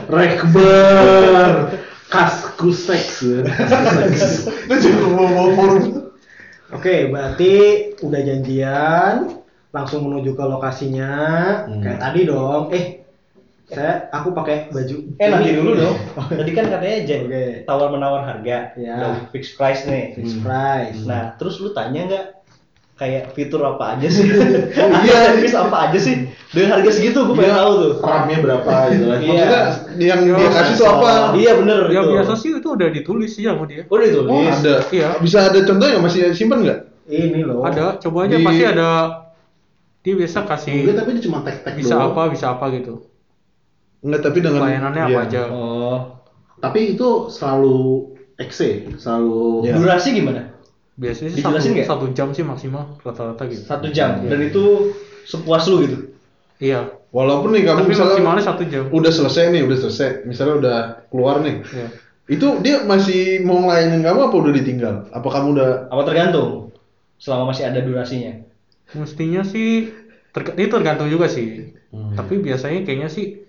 Speaker 6: Rekber Kasku seks ya.
Speaker 1: Itu juga bawa forum.
Speaker 2: Oke, berarti udah janjian, langsung menuju ke lokasinya.
Speaker 5: Hmm.
Speaker 2: Kayak tadi dong. Eh, saya aku pakai baju.
Speaker 4: Eh, nanti
Speaker 2: ini. Oh,
Speaker 4: dulu dong. Tadi kan katanya Jen,
Speaker 2: Oke.
Speaker 4: tawar menawar harga.
Speaker 2: Iya.
Speaker 4: Udah fix price nih. Hmm.
Speaker 2: Fix
Speaker 5: Hmm.
Speaker 2: price. Nah,
Speaker 4: Nah, terus lu tanya nggak kayak fitur apa aja sih?
Speaker 1: iya.
Speaker 4: Atau service apa aja sih? Dengan harga segitu gue pengen
Speaker 1: Iya.
Speaker 4: tahu tuh.
Speaker 6: Ramnya berapa gitu kan.
Speaker 4: Iya.
Speaker 1: Maksudnya yang dia kasih itu apa?
Speaker 4: Iya bener
Speaker 5: ya
Speaker 4: gitu.
Speaker 5: biasa sih itu udah ditulis sih sama dia
Speaker 4: Udah ditulis.
Speaker 1: Oh, ada.
Speaker 5: Iya.
Speaker 1: Bisa ada contohnya nggak? Masih simpen nggak?
Speaker 2: ini
Speaker 4: Oh.
Speaker 2: loh.
Speaker 5: ada coba aja
Speaker 1: Di-
Speaker 5: pasti ada dia biasa
Speaker 6: Enggak,
Speaker 5: kasih
Speaker 6: tapi dia cuma tek-tek
Speaker 5: bisa
Speaker 6: doang.
Speaker 5: apa bisa apa gitu
Speaker 1: Enggak, tapi dengan
Speaker 5: layanannya
Speaker 1: iya.
Speaker 5: apa aja
Speaker 4: Oh.
Speaker 6: Tapi itu selalu XC, selalu
Speaker 1: Iya.
Speaker 4: Durasi gimana?
Speaker 5: biasanya sih
Speaker 4: Dijelasin
Speaker 5: satu,
Speaker 4: nggak?
Speaker 5: satu jam sih maksimal rata-rata gitu
Speaker 4: Satu jam.
Speaker 1: Iya.
Speaker 4: Dan itu sepuas lu gitu.
Speaker 5: iya
Speaker 1: Walaupun nih kamu
Speaker 5: tapi
Speaker 1: misalnya
Speaker 5: maksimalnya satu jam
Speaker 1: udah selesai nih, udah selesai. Misalnya udah keluar nih.
Speaker 5: Iya.
Speaker 1: Itu dia masih mau ngelayanin kamu apa udah ditinggal? Apa kamu udah
Speaker 4: Apa tergantung? Selama masih ada durasinya.
Speaker 5: mestinya sih ter- ini tergantung juga sih
Speaker 2: Hmm.
Speaker 5: tapi biasanya kayaknya sih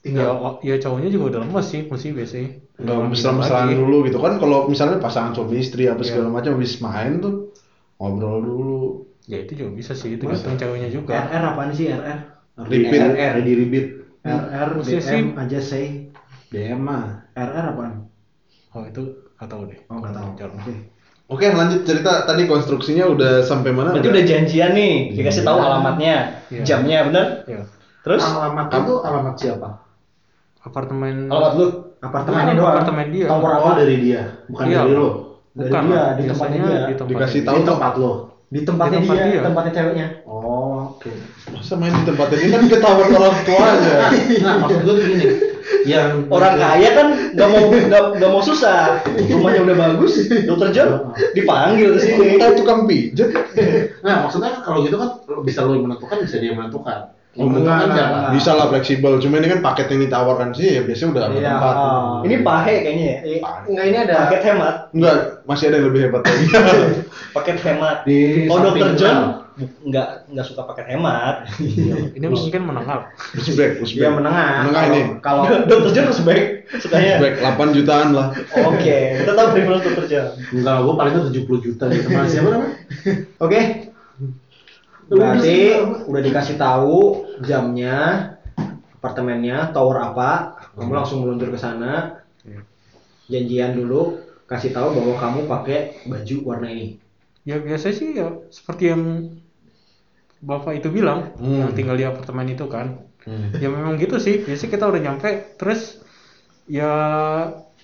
Speaker 2: Iya.
Speaker 5: ya, wa- ya cowoknya juga udah lemes sih mesti biasanya
Speaker 1: nggak
Speaker 5: Udah
Speaker 1: mesra-mesraan
Speaker 5: lagi.
Speaker 1: dulu gitu kan? Kalau misalnya pasangan suami istri apa
Speaker 5: Iya.
Speaker 1: segala macam habis main tuh ngobrol dulu.
Speaker 5: ya itu juga bisa sih itu gantung ceweknya juga
Speaker 2: RR apaan sih RR?
Speaker 1: Repeat.
Speaker 5: Iya
Speaker 6: RR, ready repeat,
Speaker 2: RR BM
Speaker 5: Maksudnya sih-
Speaker 2: aja say.
Speaker 6: DM mah.
Speaker 2: RR apaan?
Speaker 5: oh itu nggak tahu deh
Speaker 2: Oh, nggak tahu.
Speaker 5: Jarang.
Speaker 2: Oke.
Speaker 1: Oke, lanjut cerita tadi konstruksinya udah sampai mana?
Speaker 4: Berarti udah janjian nih, dikasih tahu alamatnya,
Speaker 5: Iya.
Speaker 4: jamnya bener.
Speaker 5: ya
Speaker 4: Terus
Speaker 6: Alamat itu alamat siapa?
Speaker 5: apartemen
Speaker 4: alamat lu
Speaker 2: Apartemennya
Speaker 5: Bukan,
Speaker 2: doang.
Speaker 5: apartemen dia.
Speaker 2: Tower apa?
Speaker 6: Oh, dari dia, bukan
Speaker 5: Iya.
Speaker 6: dari lo.
Speaker 2: dari
Speaker 5: bukan
Speaker 2: dia,
Speaker 5: lah,
Speaker 2: di tempatnya
Speaker 5: biasanya
Speaker 2: dia.
Speaker 5: di tempat
Speaker 1: Dikasih
Speaker 5: dia.
Speaker 1: tahu
Speaker 6: Di gitu. tempat lo.
Speaker 2: Di tempatnya
Speaker 5: Di tempat
Speaker 2: dia,
Speaker 5: dia.
Speaker 2: tempatnya ceweknya.
Speaker 6: Oh, oke.
Speaker 4: Nah,
Speaker 1: Masa main di tempat ini kan ketahuan orang tuanya.
Speaker 6: Nah, maksud gue tuh gini, yang
Speaker 4: orang kaya kan nggak mau nggak nggak mau susah, rumahnya udah bagus, dokter John dipanggil ke
Speaker 1: Iya.
Speaker 4: sini.
Speaker 1: Kita tukang pijat.
Speaker 6: Nah, maksudnya kan kalau gitu kan bisa lo yang menentukan, bisa dia yang menentukan. Hubungan
Speaker 2: jangan.
Speaker 1: bisa lah Iya, fleksibel cuma ini kan paket yang ditawarkan sih ya biasanya udah ada
Speaker 2: Iya.
Speaker 1: tempat
Speaker 6: oh.
Speaker 4: Ini pahe kayaknya ya.
Speaker 2: Eh, Enggak ini ada
Speaker 4: Paket hemat,
Speaker 1: enggak masih ada yang lebih hebat lagi
Speaker 4: paket hemat.
Speaker 6: Di
Speaker 4: Oh dokter
Speaker 6: samping
Speaker 4: John
Speaker 6: Bang.
Speaker 4: nggak nggak suka paket hemat.
Speaker 5: Ini mungkin menengah.
Speaker 1: Uzbek
Speaker 6: Iya,
Speaker 1: Uzbek
Speaker 2: dia menengah.
Speaker 1: menengah ini
Speaker 2: Kalau kalau-
Speaker 4: dokter John harus baik sukanya.
Speaker 1: Uzbek 8 jutaan lah
Speaker 4: Oke, tetap preference dokter John.
Speaker 6: Enggak, gue paling tuh 70 juta gitu. Mas siapa namanya?
Speaker 2: Oke. Berarti udah dikasih tahu jamnya, apartemennya, tower apa, kamu langsung meluncur ke sana. Janjian dulu, kasih tahu bahwa kamu pakai baju warna ini.
Speaker 5: Ya biasa sih ya seperti yang Bapak itu bilang
Speaker 1: Hmm.
Speaker 5: yang tinggal di apartemen itu kan.
Speaker 1: Hmm.
Speaker 5: Ya memang gitu sih. Biasanya kita udah nyampe terus ya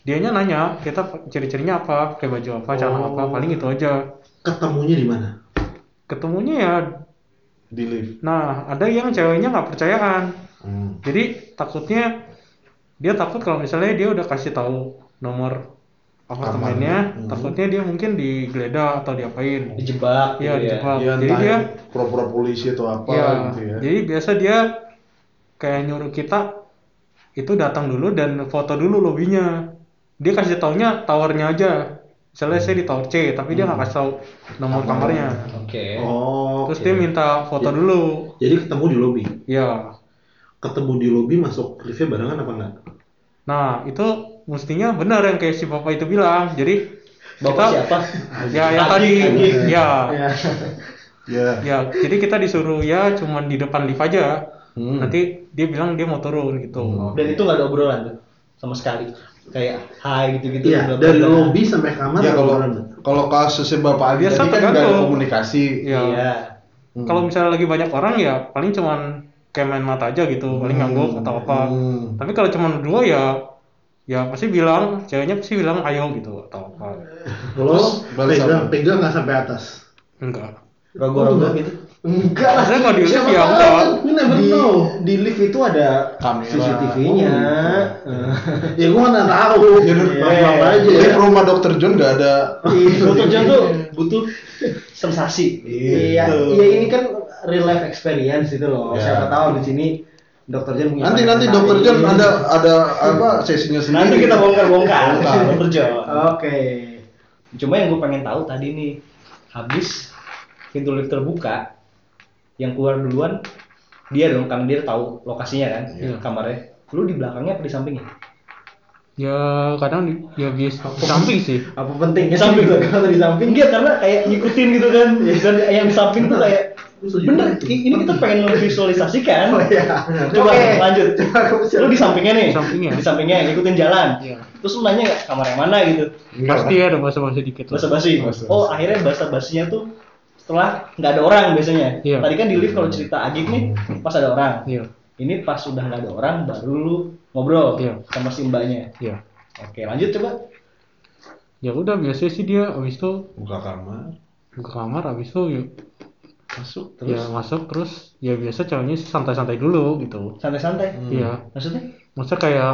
Speaker 5: dianya nanya kita ciri-cirinya apa, pakai baju apa, celana apa, paling itu aja.
Speaker 6: Ketemunya di mana?
Speaker 5: Ketemunya ya
Speaker 1: di lift
Speaker 5: nah ada yang ceweknya nggak percayaan.
Speaker 1: Hmm.
Speaker 5: Jadi takutnya dia takut kalau misalnya dia udah kasih tahu nomor apartemennya,
Speaker 1: Kamarnya. Hmm.
Speaker 5: takutnya dia mungkin digeledah atau diapain.
Speaker 4: Dijebak.
Speaker 5: Iya,
Speaker 4: gitu
Speaker 5: dijebak.
Speaker 1: Ya,
Speaker 5: Jadi
Speaker 1: entah
Speaker 5: dia
Speaker 1: pura-pura polisi atau apa
Speaker 5: ya,
Speaker 1: gitu ya.
Speaker 5: jadi biasa dia kayak nyuruh kita itu datang dulu dan foto dulu lobbynya. Dia kasih taunya towernya aja. Misalnya saya di tower C, tapi dia nggak kasih tahu nomor kamarnya.
Speaker 4: Oke.
Speaker 6: Oh.
Speaker 5: Terus
Speaker 6: oke.
Speaker 5: dia minta foto dulu.
Speaker 6: Jadi ketemu di lobi.
Speaker 5: Ya,
Speaker 6: Ketemu di lobi masuk liftnya barengan apa enggak?
Speaker 5: nah itu mestinya benar yang kayak si bapak itu bilang. Jadi
Speaker 4: Bapak
Speaker 5: kita-
Speaker 4: siapa?
Speaker 5: ya yang tadi
Speaker 4: Anjing, anjing.
Speaker 5: ya
Speaker 1: Ya.
Speaker 5: ya jadi kita disuruh ya cuman di depan lift aja nanti dia bilang dia mau turun gitu
Speaker 4: Dan itu nggak ada obrolan tuh sama sekali. Kayak hai gitu-gitu.
Speaker 6: Iya,
Speaker 4: bla-bla-bla.
Speaker 6: dari lobi sampai kamar
Speaker 1: Ya kalau
Speaker 6: barengan.
Speaker 1: kalau kasusnya Bapak Adi
Speaker 5: Biasa
Speaker 1: tadi kan nggak ada
Speaker 5: Ya, tergantung.
Speaker 1: komunikasi.
Speaker 5: ya
Speaker 4: Iya.
Speaker 1: Hmm.
Speaker 5: kalau misalnya lagi banyak orang ya paling cuman kayak main mata aja gitu paling ngangguk atau apa
Speaker 1: Hmm.
Speaker 5: tapi kalau cuman berdua ya ya pasti bilang ceweknya pasti bilang ayo gitu atau apa
Speaker 6: Terus
Speaker 1: balas
Speaker 6: pegang,
Speaker 1: apa?
Speaker 6: pegang nggak sampai atas.
Speaker 5: enggak
Speaker 4: Rogo-rogo gitu.
Speaker 2: Enggak lah.
Speaker 5: maksudnya kalau di lift
Speaker 6: Siapa
Speaker 5: ya
Speaker 6: tahu
Speaker 5: enggak
Speaker 6: kan? You never
Speaker 2: Di,
Speaker 6: know.
Speaker 2: di lift itu ada
Speaker 1: Kamera.
Speaker 2: CCTV-nya.
Speaker 6: Ya gue nggak tahu.
Speaker 1: Ya,
Speaker 6: Jadi
Speaker 1: udah, Ya.
Speaker 6: yeah. aja.
Speaker 1: Jadi rumah Dokter John nggak ada.
Speaker 2: Oh,
Speaker 4: Dokter John tuh butuh sensasi. Gitu.
Speaker 2: Iya, iya ini kan real life experience itu loh.
Speaker 4: Iya.
Speaker 1: Ya.
Speaker 2: Siapa tahu di sini Dokter Jen punya Iya.
Speaker 1: Nanti
Speaker 2: banyak
Speaker 1: nanti
Speaker 2: yang
Speaker 1: Dokter
Speaker 2: tahu.
Speaker 1: John ada ada apa sesinya
Speaker 4: Nanti
Speaker 1: sendiri.
Speaker 4: kita bongkar-bongkar Dokter John.
Speaker 2: Oke.
Speaker 4: Cuma yang gue pengen tahu tadi nih, habis pintu lift terbuka, yang keluar duluan dia dong, Kang Dir tahu lokasinya kan, kamarnya. Lu di belakangnya apa di sampingnya?
Speaker 5: ya kadang di- ya biasa di samping sih
Speaker 2: Apa pentingnya
Speaker 4: Di samping.
Speaker 2: sih kalau di samping?
Speaker 4: Enggak, karena kayak ngikutin gitu kan. Dan yang di samping tuh kayak bener. i- Ini kita pengen visualisasikan.
Speaker 6: Nah,
Speaker 4: Coba
Speaker 2: iya. Oke.
Speaker 4: lanjut. Lu di sampingnya nih.
Speaker 5: Di sampingnya.
Speaker 4: Di sampingnya ngikutin jalan.
Speaker 5: Iya.
Speaker 4: Terus lu nanya nggak kamar yang mana gitu.
Speaker 5: pasti ada bahasa-bahasa dikit lah.
Speaker 4: bahasa basi
Speaker 1: Basa-basi.
Speaker 4: oh akhirnya bahasa basinya tuh setelah nggak ada orang biasanya
Speaker 5: Iya.
Speaker 4: tadi kan di lift kalau cerita Agik nih pas ada orang
Speaker 5: iya
Speaker 4: ini pas sudah nggak ada orang baru lu ngobrol
Speaker 5: Iya.
Speaker 4: sama si mbaknya
Speaker 5: iya
Speaker 4: oke lanjut coba
Speaker 5: ya udah biasanya sih dia abis itu
Speaker 1: buka kamar,
Speaker 5: ke kamar abis itu ya
Speaker 1: masuk
Speaker 5: ya masuk terus ya biasa ceweknya sih santai-santai dulu gitu
Speaker 4: santai-santai
Speaker 1: Hmm.
Speaker 5: iya
Speaker 4: maksudnya
Speaker 5: maksudnya kayak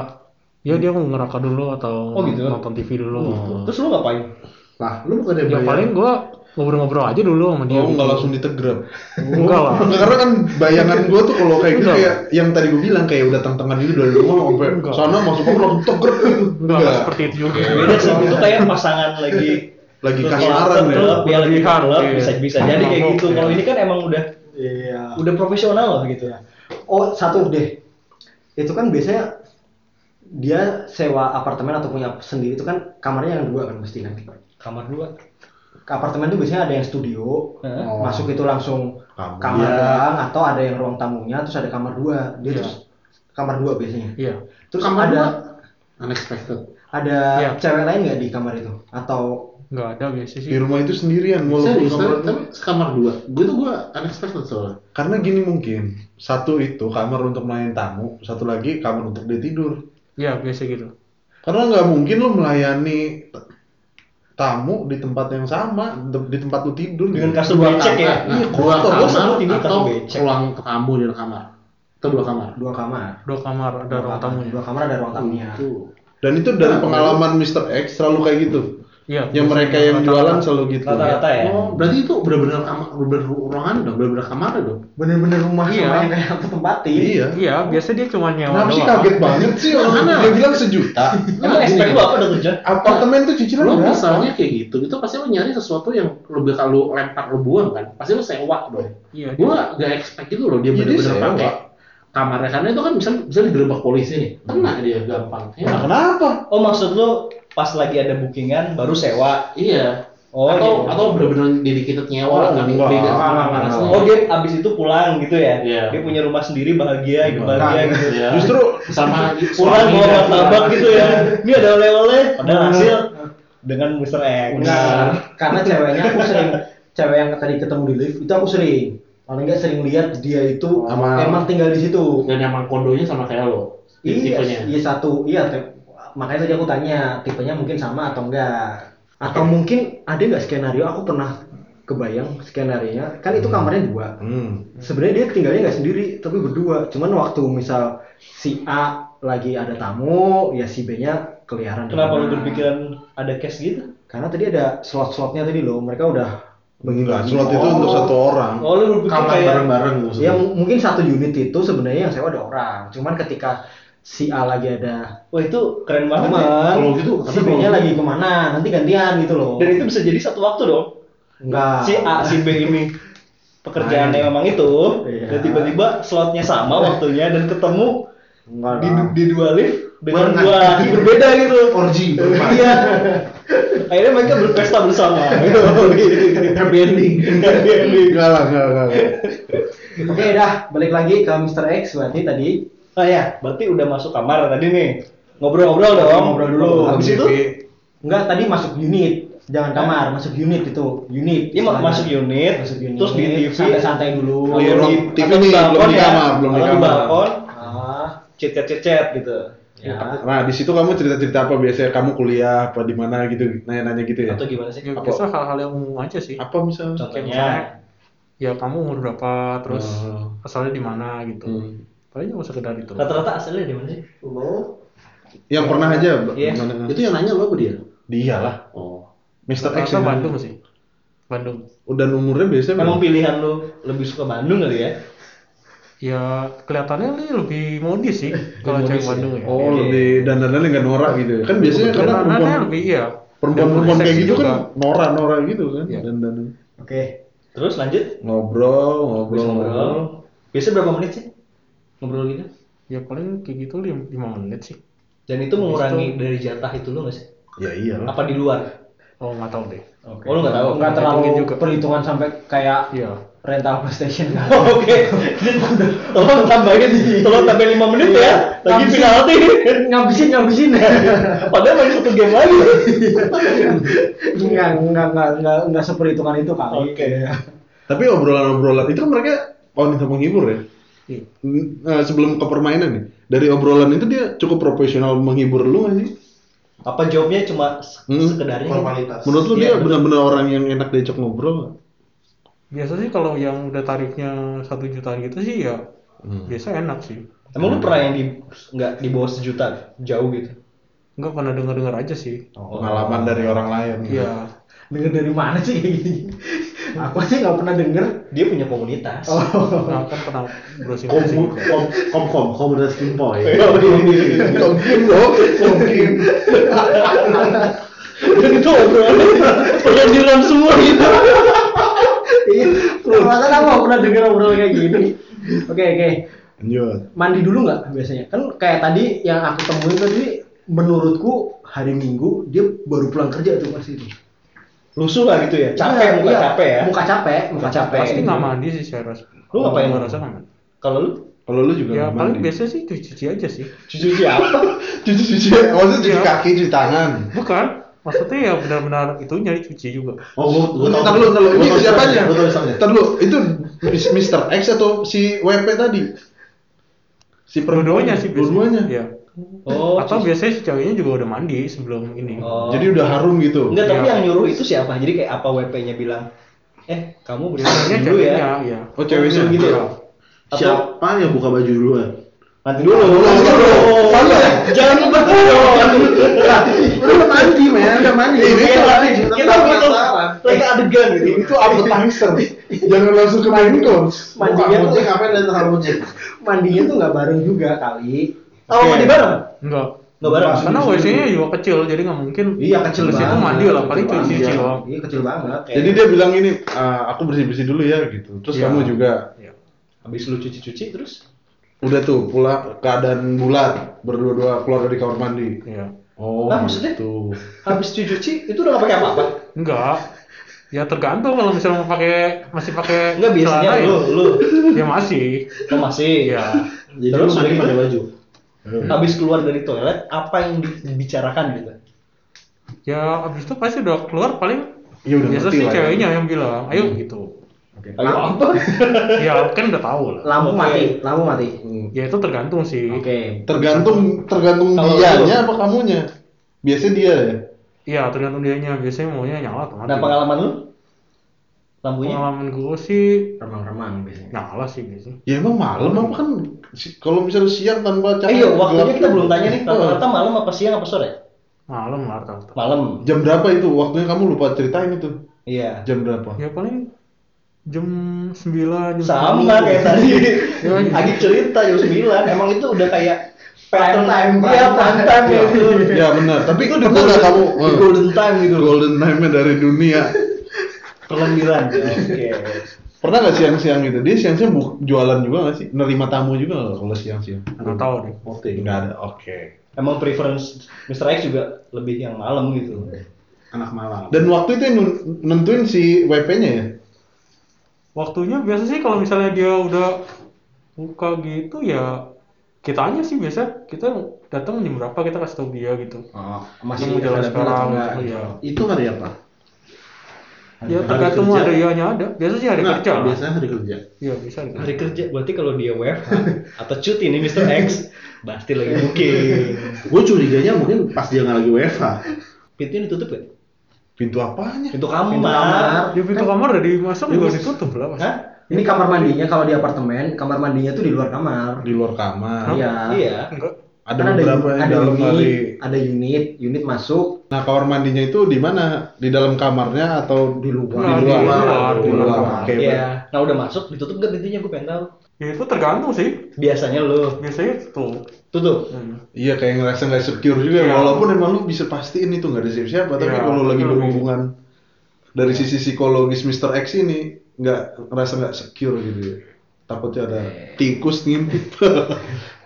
Speaker 5: ya dia mau ngerokok dulu atau
Speaker 4: Oh, gitu?
Speaker 5: nonton TV dulu
Speaker 4: terus lu ngapain
Speaker 6: Lah, lu bukan yang
Speaker 5: ya
Speaker 6: bayar.
Speaker 5: paling gua ngobrol-ngobrol aja dulu sama
Speaker 1: Iya,
Speaker 5: dia
Speaker 1: Oh,
Speaker 5: gitu.
Speaker 1: nggak langsung ditegrep.
Speaker 5: enggak lah
Speaker 1: Nggak, karena kan bayangan gue tuh kalau kayak gitu
Speaker 5: Enggak.
Speaker 1: kayak yang tadi gue bilang kayak udah tentang itu dari rumah sampai
Speaker 5: Enggak.
Speaker 1: sana masuk kamar langsung tegrep.
Speaker 5: enggak enggak seperti itu juga
Speaker 4: beda sih itu kayak pasangan lagi
Speaker 1: Lagi
Speaker 4: klub-
Speaker 1: kasaran ya.
Speaker 4: klub, ya lagi
Speaker 5: Lebihan,
Speaker 4: klub,
Speaker 5: iya.
Speaker 4: bisa bisa jadi kayak
Speaker 5: Mabok,
Speaker 4: gitu
Speaker 5: iya.
Speaker 4: kalau ini kan emang udah
Speaker 2: Iya.
Speaker 4: udah profesional loh gitu ya
Speaker 2: Oh, satu deh. Itu kan biasanya dia sewa apartemen atau punya sendiri itu kan kamarnya yang dua kan mesti kan.
Speaker 4: kamar dua
Speaker 2: Ke apartemen tuh biasanya ada yang studio.
Speaker 4: Heeh.
Speaker 1: Oh.
Speaker 2: Masuk itu langsung
Speaker 1: Kamar.
Speaker 2: kamar
Speaker 4: Iya.
Speaker 2: doang atau ada yang ruang tamunya terus ada kamar dua.
Speaker 6: Iya.
Speaker 2: Dia terus kamar dua biasanya.
Speaker 5: iya
Speaker 2: Terus
Speaker 6: Kamar
Speaker 2: ada
Speaker 6: dua? Unexpected.
Speaker 2: ada
Speaker 5: Iya.
Speaker 2: cewek lain nggak di kamar itu atau
Speaker 5: enggak ada biasa sih
Speaker 1: Di rumah itu sendirian walaupun
Speaker 6: Serius, tapi,
Speaker 1: kamar
Speaker 6: tapi sekamar dua. Gue tuh gue unexpected soalnya.
Speaker 1: Karena gini mungkin, satu itu kamar untuk melayani tamu, satu lagi kamar untuk dia tidur.
Speaker 5: iya biasa gitu
Speaker 1: Karena nggak mungkin lu melayani t- tamu di tempat yang sama, di di tempat lu tidur.
Speaker 4: dengan
Speaker 1: gitu.
Speaker 4: kasur becek ya
Speaker 6: Nah,
Speaker 4: Iya,
Speaker 6: dua
Speaker 4: kotor. Gua
Speaker 6: kamar
Speaker 4: selalu tidur
Speaker 6: atau
Speaker 4: kasur becek
Speaker 6: ruang tamu dan kamar. Atau dua kamar.
Speaker 2: dua kamar?
Speaker 5: dua kamar
Speaker 1: iya.
Speaker 5: ada ruang tamunya
Speaker 4: Iya.
Speaker 6: Iya,
Speaker 2: Dua kamar ada ruang tamunya.
Speaker 6: Tuh.
Speaker 4: Nah,
Speaker 1: Dan itu dari pengalaman Mr. X selalu kayak gitu.
Speaker 5: Iya.
Speaker 1: yang mereka yang jualan selalu gitu
Speaker 4: Rata-rata ya.
Speaker 6: Oh, berarti itu benar-benar kamar, benar-benar ruangan dong, benar-benar kamar dong.
Speaker 2: bener-bener rumah sama
Speaker 5: Iya.
Speaker 2: yang
Speaker 4: Eh,
Speaker 2: kayak aku tempatin
Speaker 1: iya
Speaker 5: Iya, biasa dia cuma nyewa
Speaker 1: kenapa sih
Speaker 5: doang.
Speaker 1: kaget banget sih orang dia bilang sejuta
Speaker 4: Emang
Speaker 6: Iya.
Speaker 4: expect lu apa udah tujuan?
Speaker 1: apartemen tuh cicilan
Speaker 6: Lo
Speaker 1: berapa? Iya,
Speaker 6: misalnya kayak gitu, itu pasti lo nyari sesuatu kan yang lo bakal lo lempar lo buang kan, pasti lo sewa dong.
Speaker 5: Iya.
Speaker 6: Gue gak expect itu loh dia
Speaker 1: Iya, dia
Speaker 6: benar-benar
Speaker 1: sewa.
Speaker 6: pakai kamarnya karena itu kan bisa bisa digerebek polisi nih, kena dia gampang. Ya,
Speaker 1: Nah, kenapa
Speaker 4: Oh maksud lu pas lagi ada bookingan baru sewa.
Speaker 6: Iya.
Speaker 4: Oh,
Speaker 6: atau
Speaker 4: gitu.
Speaker 6: atau benar-benar dedicated nyewa lah,
Speaker 1: Oh,
Speaker 6: kan?
Speaker 1: enggak.
Speaker 6: Beda sama kamar
Speaker 1: Enggak.
Speaker 6: asli.
Speaker 4: Oh dia abis itu pulang gitu ya?
Speaker 6: Iya.
Speaker 4: Dia punya rumah sendiri bahagia,
Speaker 1: Nah,
Speaker 4: hidup bahagia gitu.
Speaker 5: Ya.
Speaker 6: Iya.
Speaker 1: justru
Speaker 6: sama
Speaker 4: Pulang
Speaker 6: suami
Speaker 4: bawa
Speaker 6: dan-
Speaker 4: martabak gitu ya. Ini ada oleh-oleh. Padahal
Speaker 6: Iya.
Speaker 4: hasil dengan Mr. X.
Speaker 2: Enggak, karena ceweknya aku sering cewek yang tadi ketemu di lift itu aku sering paling nggak sering lihat dia itu
Speaker 6: Sama-
Speaker 2: emang tinggal di situ
Speaker 6: dan emang kondonya sama kayak lo
Speaker 2: iya
Speaker 6: tipenya
Speaker 2: iya satu iya tip- makanya tadi aku tanya tipenya mungkin sama atau enggak atau mungkin ada nggak skenario aku pernah kebayang skenarionya kan itu kamarnya dua
Speaker 1: hmm.
Speaker 2: sebenarnya dia tinggalnya nggak sendiri tapi berdua cuman waktu misal si A lagi ada tamu ya si B nya keliaran
Speaker 4: Kenapa lu
Speaker 2: Nah,
Speaker 4: berpikiran ada cash gitu?
Speaker 2: karena tadi ada slot-slotnya tadi loh mereka udah
Speaker 1: Nah,
Speaker 2: mengira
Speaker 1: slot itu untuk satu orang
Speaker 4: Oh lu berpikir
Speaker 6: kamar
Speaker 4: kayak
Speaker 6: bareng-bareng
Speaker 2: ya
Speaker 6: maksudnya
Speaker 2: m- mungkin satu unit itu sebenarnya yang sewa ada orang cuman ketika si A lagi ada
Speaker 4: Wah itu keren banget ya.
Speaker 6: kalau
Speaker 2: teman
Speaker 6: gitu
Speaker 2: si B nya lagi kemana nanti gantian gitu loh
Speaker 4: Dan itu bisa jadi satu waktu dong.
Speaker 2: enggak
Speaker 4: Si A, si B ini pekerjaannya
Speaker 2: Nah,
Speaker 4: memang itu.
Speaker 2: Iya.
Speaker 4: Dan tiba-tiba slotnya sama waktunya dan ketemu
Speaker 2: enggak
Speaker 4: di,
Speaker 2: lah.
Speaker 4: di dua lift dengan
Speaker 6: Barengan.
Speaker 4: dua laki berbeda gitu.
Speaker 2: Oh,
Speaker 6: orgi
Speaker 4: Iya. Akhirnya mereka berpesta bersama. Gitu.
Speaker 6: happy ending
Speaker 1: enggak lah enggak enggak enggak.
Speaker 2: oke dah balik lagi ke Mr. X berarti tadi
Speaker 4: Nah ya, berarti udah masuk kamar tadi nih. Ngobrol-ngobrol dong.
Speaker 2: Ngobrol dulu.
Speaker 1: Nah,
Speaker 4: Habis itu
Speaker 1: Jadi,
Speaker 2: enggak tadi masuk unit jangan kamar masuk unit itu unit
Speaker 4: dia Iya, ma-
Speaker 2: istilahnya.
Speaker 4: masuk unit,
Speaker 2: masuk unit
Speaker 4: terus di Oh, TV
Speaker 2: santai-santai dulu
Speaker 1: Iya,
Speaker 4: Kalau
Speaker 1: belum
Speaker 4: di-
Speaker 1: TV
Speaker 4: atau
Speaker 1: nih,
Speaker 4: balkon
Speaker 1: belum di
Speaker 4: ya.
Speaker 1: kamar, belum di
Speaker 4: Kalau
Speaker 1: kamar.
Speaker 4: balkon,
Speaker 2: ah
Speaker 4: cecet-cecet gitu.
Speaker 2: ya
Speaker 1: nah di situ kamu cerita cerita apa biasanya kamu kuliah apa di mana gitu nanya nanya gitu ya
Speaker 4: Atau gimana sih?
Speaker 5: Ya, biasa hal-hal yang umum aja sih.
Speaker 1: apa misalnya
Speaker 4: Contohnya,
Speaker 5: Ya kamu umur berapa, terus
Speaker 1: Hmm.
Speaker 5: asalnya di mana gitu.
Speaker 1: Hmm.
Speaker 5: Paling cuma sekedar itu.
Speaker 4: rata-rata asalnya dari mana sih?
Speaker 2: lo
Speaker 1: yang pernah aja
Speaker 4: Iya.
Speaker 1: gimana?
Speaker 6: itu yang nanya lo apa dia
Speaker 1: dia lah
Speaker 6: oh
Speaker 1: Mr. X
Speaker 5: Rata
Speaker 1: yang
Speaker 5: Bandung sih. Bandung.
Speaker 1: udah umurnya biasanya
Speaker 4: Emang pilihan lu lebih suka Bandung kali ya?
Speaker 5: Ya kelihatannya ini lebih modis
Speaker 1: Eh,
Speaker 5: sih kalau cewek Bandung ya.
Speaker 1: Oh, lebih dan dandannya nggak norak gitu. ya. Kan biasanya karena
Speaker 5: Karena
Speaker 1: perempuan
Speaker 5: lebih iya.
Speaker 1: perempuan, perempuan kayak
Speaker 5: Seksi
Speaker 1: gitu
Speaker 5: juga.
Speaker 1: kan norak-norak gitu kan
Speaker 5: Iya.
Speaker 1: dan
Speaker 2: oke
Speaker 4: Terus lanjut,
Speaker 1: ngobrol, ngobrol,
Speaker 4: habis
Speaker 1: ngobrol.
Speaker 4: ngobrol. Biasanya berapa menit sih? Ngobrol gitu?
Speaker 5: Ya paling kayak gitu lim- lima menit sih.
Speaker 4: Dan itu mengurangi dari jatah itu lu nggak sih?
Speaker 1: Ya iyalah.
Speaker 4: Apa di luar?
Speaker 5: Oh nggak tahu deh.
Speaker 4: Oh lu nggak tahu?
Speaker 2: nggak terlalu
Speaker 5: Hitungin juga.
Speaker 2: perhitungan sampai kayak
Speaker 5: Iya.
Speaker 2: rental PlayStation
Speaker 4: Oh, Oke, tolong tambahin, tolong tambahin lima menit ya. Lagi penalti,
Speaker 2: ngabisin ngabisin
Speaker 4: padahal masih satu game lagi.
Speaker 2: nggak nggak nggak nggak nggak seperhitungan itu Iya. kali
Speaker 4: Oke.
Speaker 1: Tapi obrolan-obrolan itu kan mereka oh ini sama menghibur ya.
Speaker 5: Iya.
Speaker 1: N- eh, sebelum ke permainan nih. Dari obrolan itu dia cukup profesional menghibur lu nggak sih?
Speaker 4: Apa jawabnya cuma se-
Speaker 1: Hmm.
Speaker 4: sekedarnya?
Speaker 6: formalitas
Speaker 1: Menurut lu
Speaker 4: Iya,
Speaker 1: dia
Speaker 4: bener.
Speaker 1: benar-benar orang yang enak diajak ngobrol? nggak?
Speaker 5: Biasa sih kalau yang udah tarifnya satu jutaan gitu sih ya
Speaker 1: Hmm.
Speaker 5: biasa enak sih.
Speaker 4: Emang lu pernah yang di nggak di bawah sejuta jauh gitu?
Speaker 5: Nggak pernah denger dengar aja sih.
Speaker 1: Oh.
Speaker 4: Oh.
Speaker 1: Pengalaman dari orang lain.
Speaker 5: Iya.
Speaker 2: denger dari mana sih kayak gini aku sih nggak pernah denger
Speaker 4: Dia punya komunitas.
Speaker 5: Nah, kan pernah
Speaker 1: Iya.
Speaker 5: browsing
Speaker 6: kom
Speaker 5: browsing.
Speaker 6: kom kom kom komunitas kimpoy
Speaker 1: Mungkin dong, mungkin.
Speaker 4: Dan itu obrolan penyandiran semua gitu.
Speaker 2: iya perasaan aku nggak pernah denger obrolan kayak gini oke oke
Speaker 1: Lanjut.
Speaker 2: mandi dulu nggak biasanya kan kayak tadi yang aku temuin tadi menurutku hari minggu dia baru pulang kerja tuh pasti itu
Speaker 4: Lusuh lah gitu ya, capek muka
Speaker 2: Iya,
Speaker 4: capek ya.
Speaker 2: muka capek muka capek
Speaker 5: Pasti nggak mandi sih saya rasa.
Speaker 4: Lu ngapain?
Speaker 5: Gua rasa nggak mandi.
Speaker 4: Kalau lu
Speaker 1: Kalau lu juga
Speaker 5: Ya
Speaker 1: nggak
Speaker 5: paling
Speaker 1: mandi?
Speaker 5: biasa sih cuci aja sih.
Speaker 4: cuci siapa?
Speaker 1: cuci-cuci maksudnya
Speaker 5: Iya.
Speaker 1: cuci kaki cuci tangan
Speaker 5: Bukan. Maksudnya ya benar-benar itu nyari cuci juga.
Speaker 6: oh gua gua
Speaker 1: Ntar dulu, ntar dulu.
Speaker 6: gua
Speaker 1: Ini
Speaker 6: tahu
Speaker 1: siapanya?
Speaker 6: gua tahu misalnya
Speaker 1: Ntar dulu, itu mis- Mr. X atau si WP tadi? Si perempuan.
Speaker 5: Dua-duanya sih biasanya.
Speaker 1: Dua-duanya?
Speaker 5: Iya.
Speaker 4: Oh,
Speaker 5: Atau
Speaker 4: cuci-
Speaker 5: biasanya si ceweknya juga udah mandi sebelum ini.
Speaker 4: Oh.
Speaker 1: Jadi udah harum gitu?
Speaker 4: Enggak, tapi
Speaker 5: Iya.
Speaker 4: yang nyuruh itu siapa? Jadi kayak apa WP-nya bilang, "Eh, kamu
Speaker 5: Biasanya
Speaker 4: bersih dulu
Speaker 5: ceweknya,
Speaker 4: ya."
Speaker 5: iya.
Speaker 1: Oh ceweknya?
Speaker 4: Langsung gitu ya? Atau-
Speaker 6: siapa yang buka baju
Speaker 1: eh?
Speaker 6: duluan
Speaker 4: Nanti dulu. Dulu. Jangan betul.
Speaker 1: Lu mandi men,
Speaker 6: mana?
Speaker 1: Ini kita-
Speaker 4: kita begitu lagi adegan gitu
Speaker 1: Itu apa tangser? Jangan langsung ke main course.
Speaker 2: Mandinya tuh
Speaker 6: Rambutnya ngapain dan rambutnya?
Speaker 2: mandinya tuh nggak bareng juga kali.
Speaker 4: apa
Speaker 5: Oke.
Speaker 4: mandi bareng
Speaker 5: Enggak.
Speaker 4: nggak bareng
Speaker 5: Karena WC-nya juga kecil, jadi nggak mungkin.
Speaker 2: Iya, kecil
Speaker 5: Terus itu
Speaker 2: banget.
Speaker 5: mandi lah, paling cuci cuci
Speaker 2: Iya,
Speaker 5: doang.
Speaker 2: Iya kecil banget.
Speaker 1: Jadi dia bilang ini, "Ah, aku bersih-bersih dulu ya gitu. Terus
Speaker 5: Iya.
Speaker 1: kamu juga
Speaker 4: habis lu cuci-cuci terus
Speaker 1: udah tuh pula keadaan bulat berdua-dua keluar dari kamar mandi.
Speaker 5: Iya.
Speaker 1: Oh,
Speaker 4: Lah, maksudnya?
Speaker 1: gitu.
Speaker 4: habis cuci-cuci itu udah nggak pakai apa-apa
Speaker 5: Enggak. Ya tergantung kalau misalnya mau pakai masih pakai
Speaker 4: nggak biasanya
Speaker 5: celana ya-
Speaker 4: lu lu
Speaker 5: ya masih.
Speaker 4: lu masih
Speaker 5: Iya.
Speaker 4: jadi
Speaker 6: lu
Speaker 4: terus udah
Speaker 6: mandi
Speaker 4: gimana
Speaker 6: pakai
Speaker 4: baju habis keluar dari toilet apa yang dibicarakan gitu
Speaker 5: Ya abis itu pasti udah keluar paling
Speaker 1: Ya udah
Speaker 5: biasa
Speaker 1: ngerti
Speaker 5: sih
Speaker 1: lah ya.
Speaker 5: ceweknya yang bilang, ayo gitu.
Speaker 4: ayo apa
Speaker 5: Ya kan udah tahu lah.
Speaker 2: Lampu
Speaker 4: Oke. Hmm.
Speaker 2: mati, lampu mati.
Speaker 5: Ya itu tergantung sih.
Speaker 2: Oke.
Speaker 1: Tergantung tergantung
Speaker 4: Kalau
Speaker 1: dianya apa kamunya. Biasanya dia ya.
Speaker 5: Iya tergantung dianya. Biasanya maunya nyala atau mati.
Speaker 4: ada Nah, pengalaman lu lampunya
Speaker 5: Pengalaman gue sih
Speaker 2: Remang-remang biasanya.
Speaker 5: nyala sih biasanya.
Speaker 1: Ya emang malam apa kan si- kalau misalnya siang tanpa
Speaker 4: eh
Speaker 1: cahaya
Speaker 4: iya waktunya
Speaker 1: gelap. gitu.
Speaker 4: kita belum tanya nih rata-rata
Speaker 1: Eh,
Speaker 4: malam apa siang apa sore
Speaker 5: Malam lah rata-rata.
Speaker 4: malam
Speaker 1: Jam berapa itu? Waktunya kamu lupa ceritain itu.
Speaker 4: iya
Speaker 1: Jam berapa?
Speaker 5: Ya paling jam 9, jam
Speaker 4: sama
Speaker 5: 10.
Speaker 4: kayak tadi
Speaker 5: Iya, iya.
Speaker 4: Agi cerita jam 9 emang itu udah kayak pattern
Speaker 2: time,
Speaker 4: iya
Speaker 2: prime
Speaker 4: prime time
Speaker 2: time.
Speaker 4: itu
Speaker 1: ya benar. Tapi itu pernah nggak kamu eh,
Speaker 4: golden time gitu
Speaker 1: golden time dari dunia?
Speaker 4: kelembiran oke
Speaker 1: Pernah nggak siang-siang gitu? Dia siang-siang bu- jualan juga nggak sih? Nerima tamu juga nggak kalau siang-siang?
Speaker 5: Nggak tahu deh.
Speaker 1: Oke, nggak ada. Oke.
Speaker 4: emang preference Mr. X juga lebih yang malam gitu
Speaker 6: Anak malam.
Speaker 1: Dan waktu itu yang nun- nentuin si WP-nya ya?
Speaker 5: Waktunya biasa sih kalau misalnya dia udah buka gitu ya kitanya sih biasa kita datang jam berapa kita kasih tahu dia gitu.
Speaker 4: Oh,
Speaker 2: Masih
Speaker 5: Yang mau jalan
Speaker 2: ada bulan
Speaker 5: sekarang,
Speaker 2: enggak?
Speaker 5: iya.
Speaker 6: Itu hari apa?
Speaker 5: Ya tergantung
Speaker 6: kerja.
Speaker 5: ada ianya ada. Biasa sih hari
Speaker 6: Nggak,
Speaker 5: kerja. lah.
Speaker 6: Biasanya hari kerja.
Speaker 5: Iya, bisa hari kerja.
Speaker 4: hari kerja berarti kalau dia WFH atau cuti nih Mr. X pasti lagi booking
Speaker 6: Gue curiganya mungkin pas dia nggak lagi WFH.
Speaker 4: pintunya ditutup ya
Speaker 1: Pintu apanya?
Speaker 4: pintu kamar,
Speaker 5: Ya pintu kamar udah dimasuk juga ditutup lah pasti.
Speaker 4: Hah?
Speaker 2: Ini kamar mandinya kalau di apartemen, kamar mandinya tuh di luar kamar.
Speaker 1: Di luar kamar.
Speaker 2: Iya.
Speaker 4: iya
Speaker 5: Enggak.
Speaker 1: Ada
Speaker 2: Kan
Speaker 1: beberapa yang
Speaker 2: ada
Speaker 1: dalam kali.
Speaker 2: unit, ada unit, unit masuk
Speaker 1: Nah, kamar mandinya itu di mana? Di dalam kamarnya atau
Speaker 2: di
Speaker 5: Nah,
Speaker 2: luar.
Speaker 5: di luar,
Speaker 1: Di
Speaker 5: di
Speaker 1: luar.
Speaker 5: luar.
Speaker 1: Oke,
Speaker 4: iya nah udah masuk ditutup gak pintunya gue pengen tahu
Speaker 5: Ya itu tergantung sih.
Speaker 4: biasanya lo
Speaker 5: Biasanya tuh. hmm.
Speaker 4: tutup
Speaker 1: Iya kayak ngerasa nggak secure juga ya.
Speaker 5: Iya.
Speaker 1: walaupun emang lu bisa pastiin itu nggak ada siapa-siapa tapi
Speaker 5: Iya.
Speaker 1: kalau lagi
Speaker 5: Iya.
Speaker 1: berhubungan dari sisi psikologis Mr. X ini nggak ngerasa nggak secure gitu ya. Takutnya ada tikus ngintip.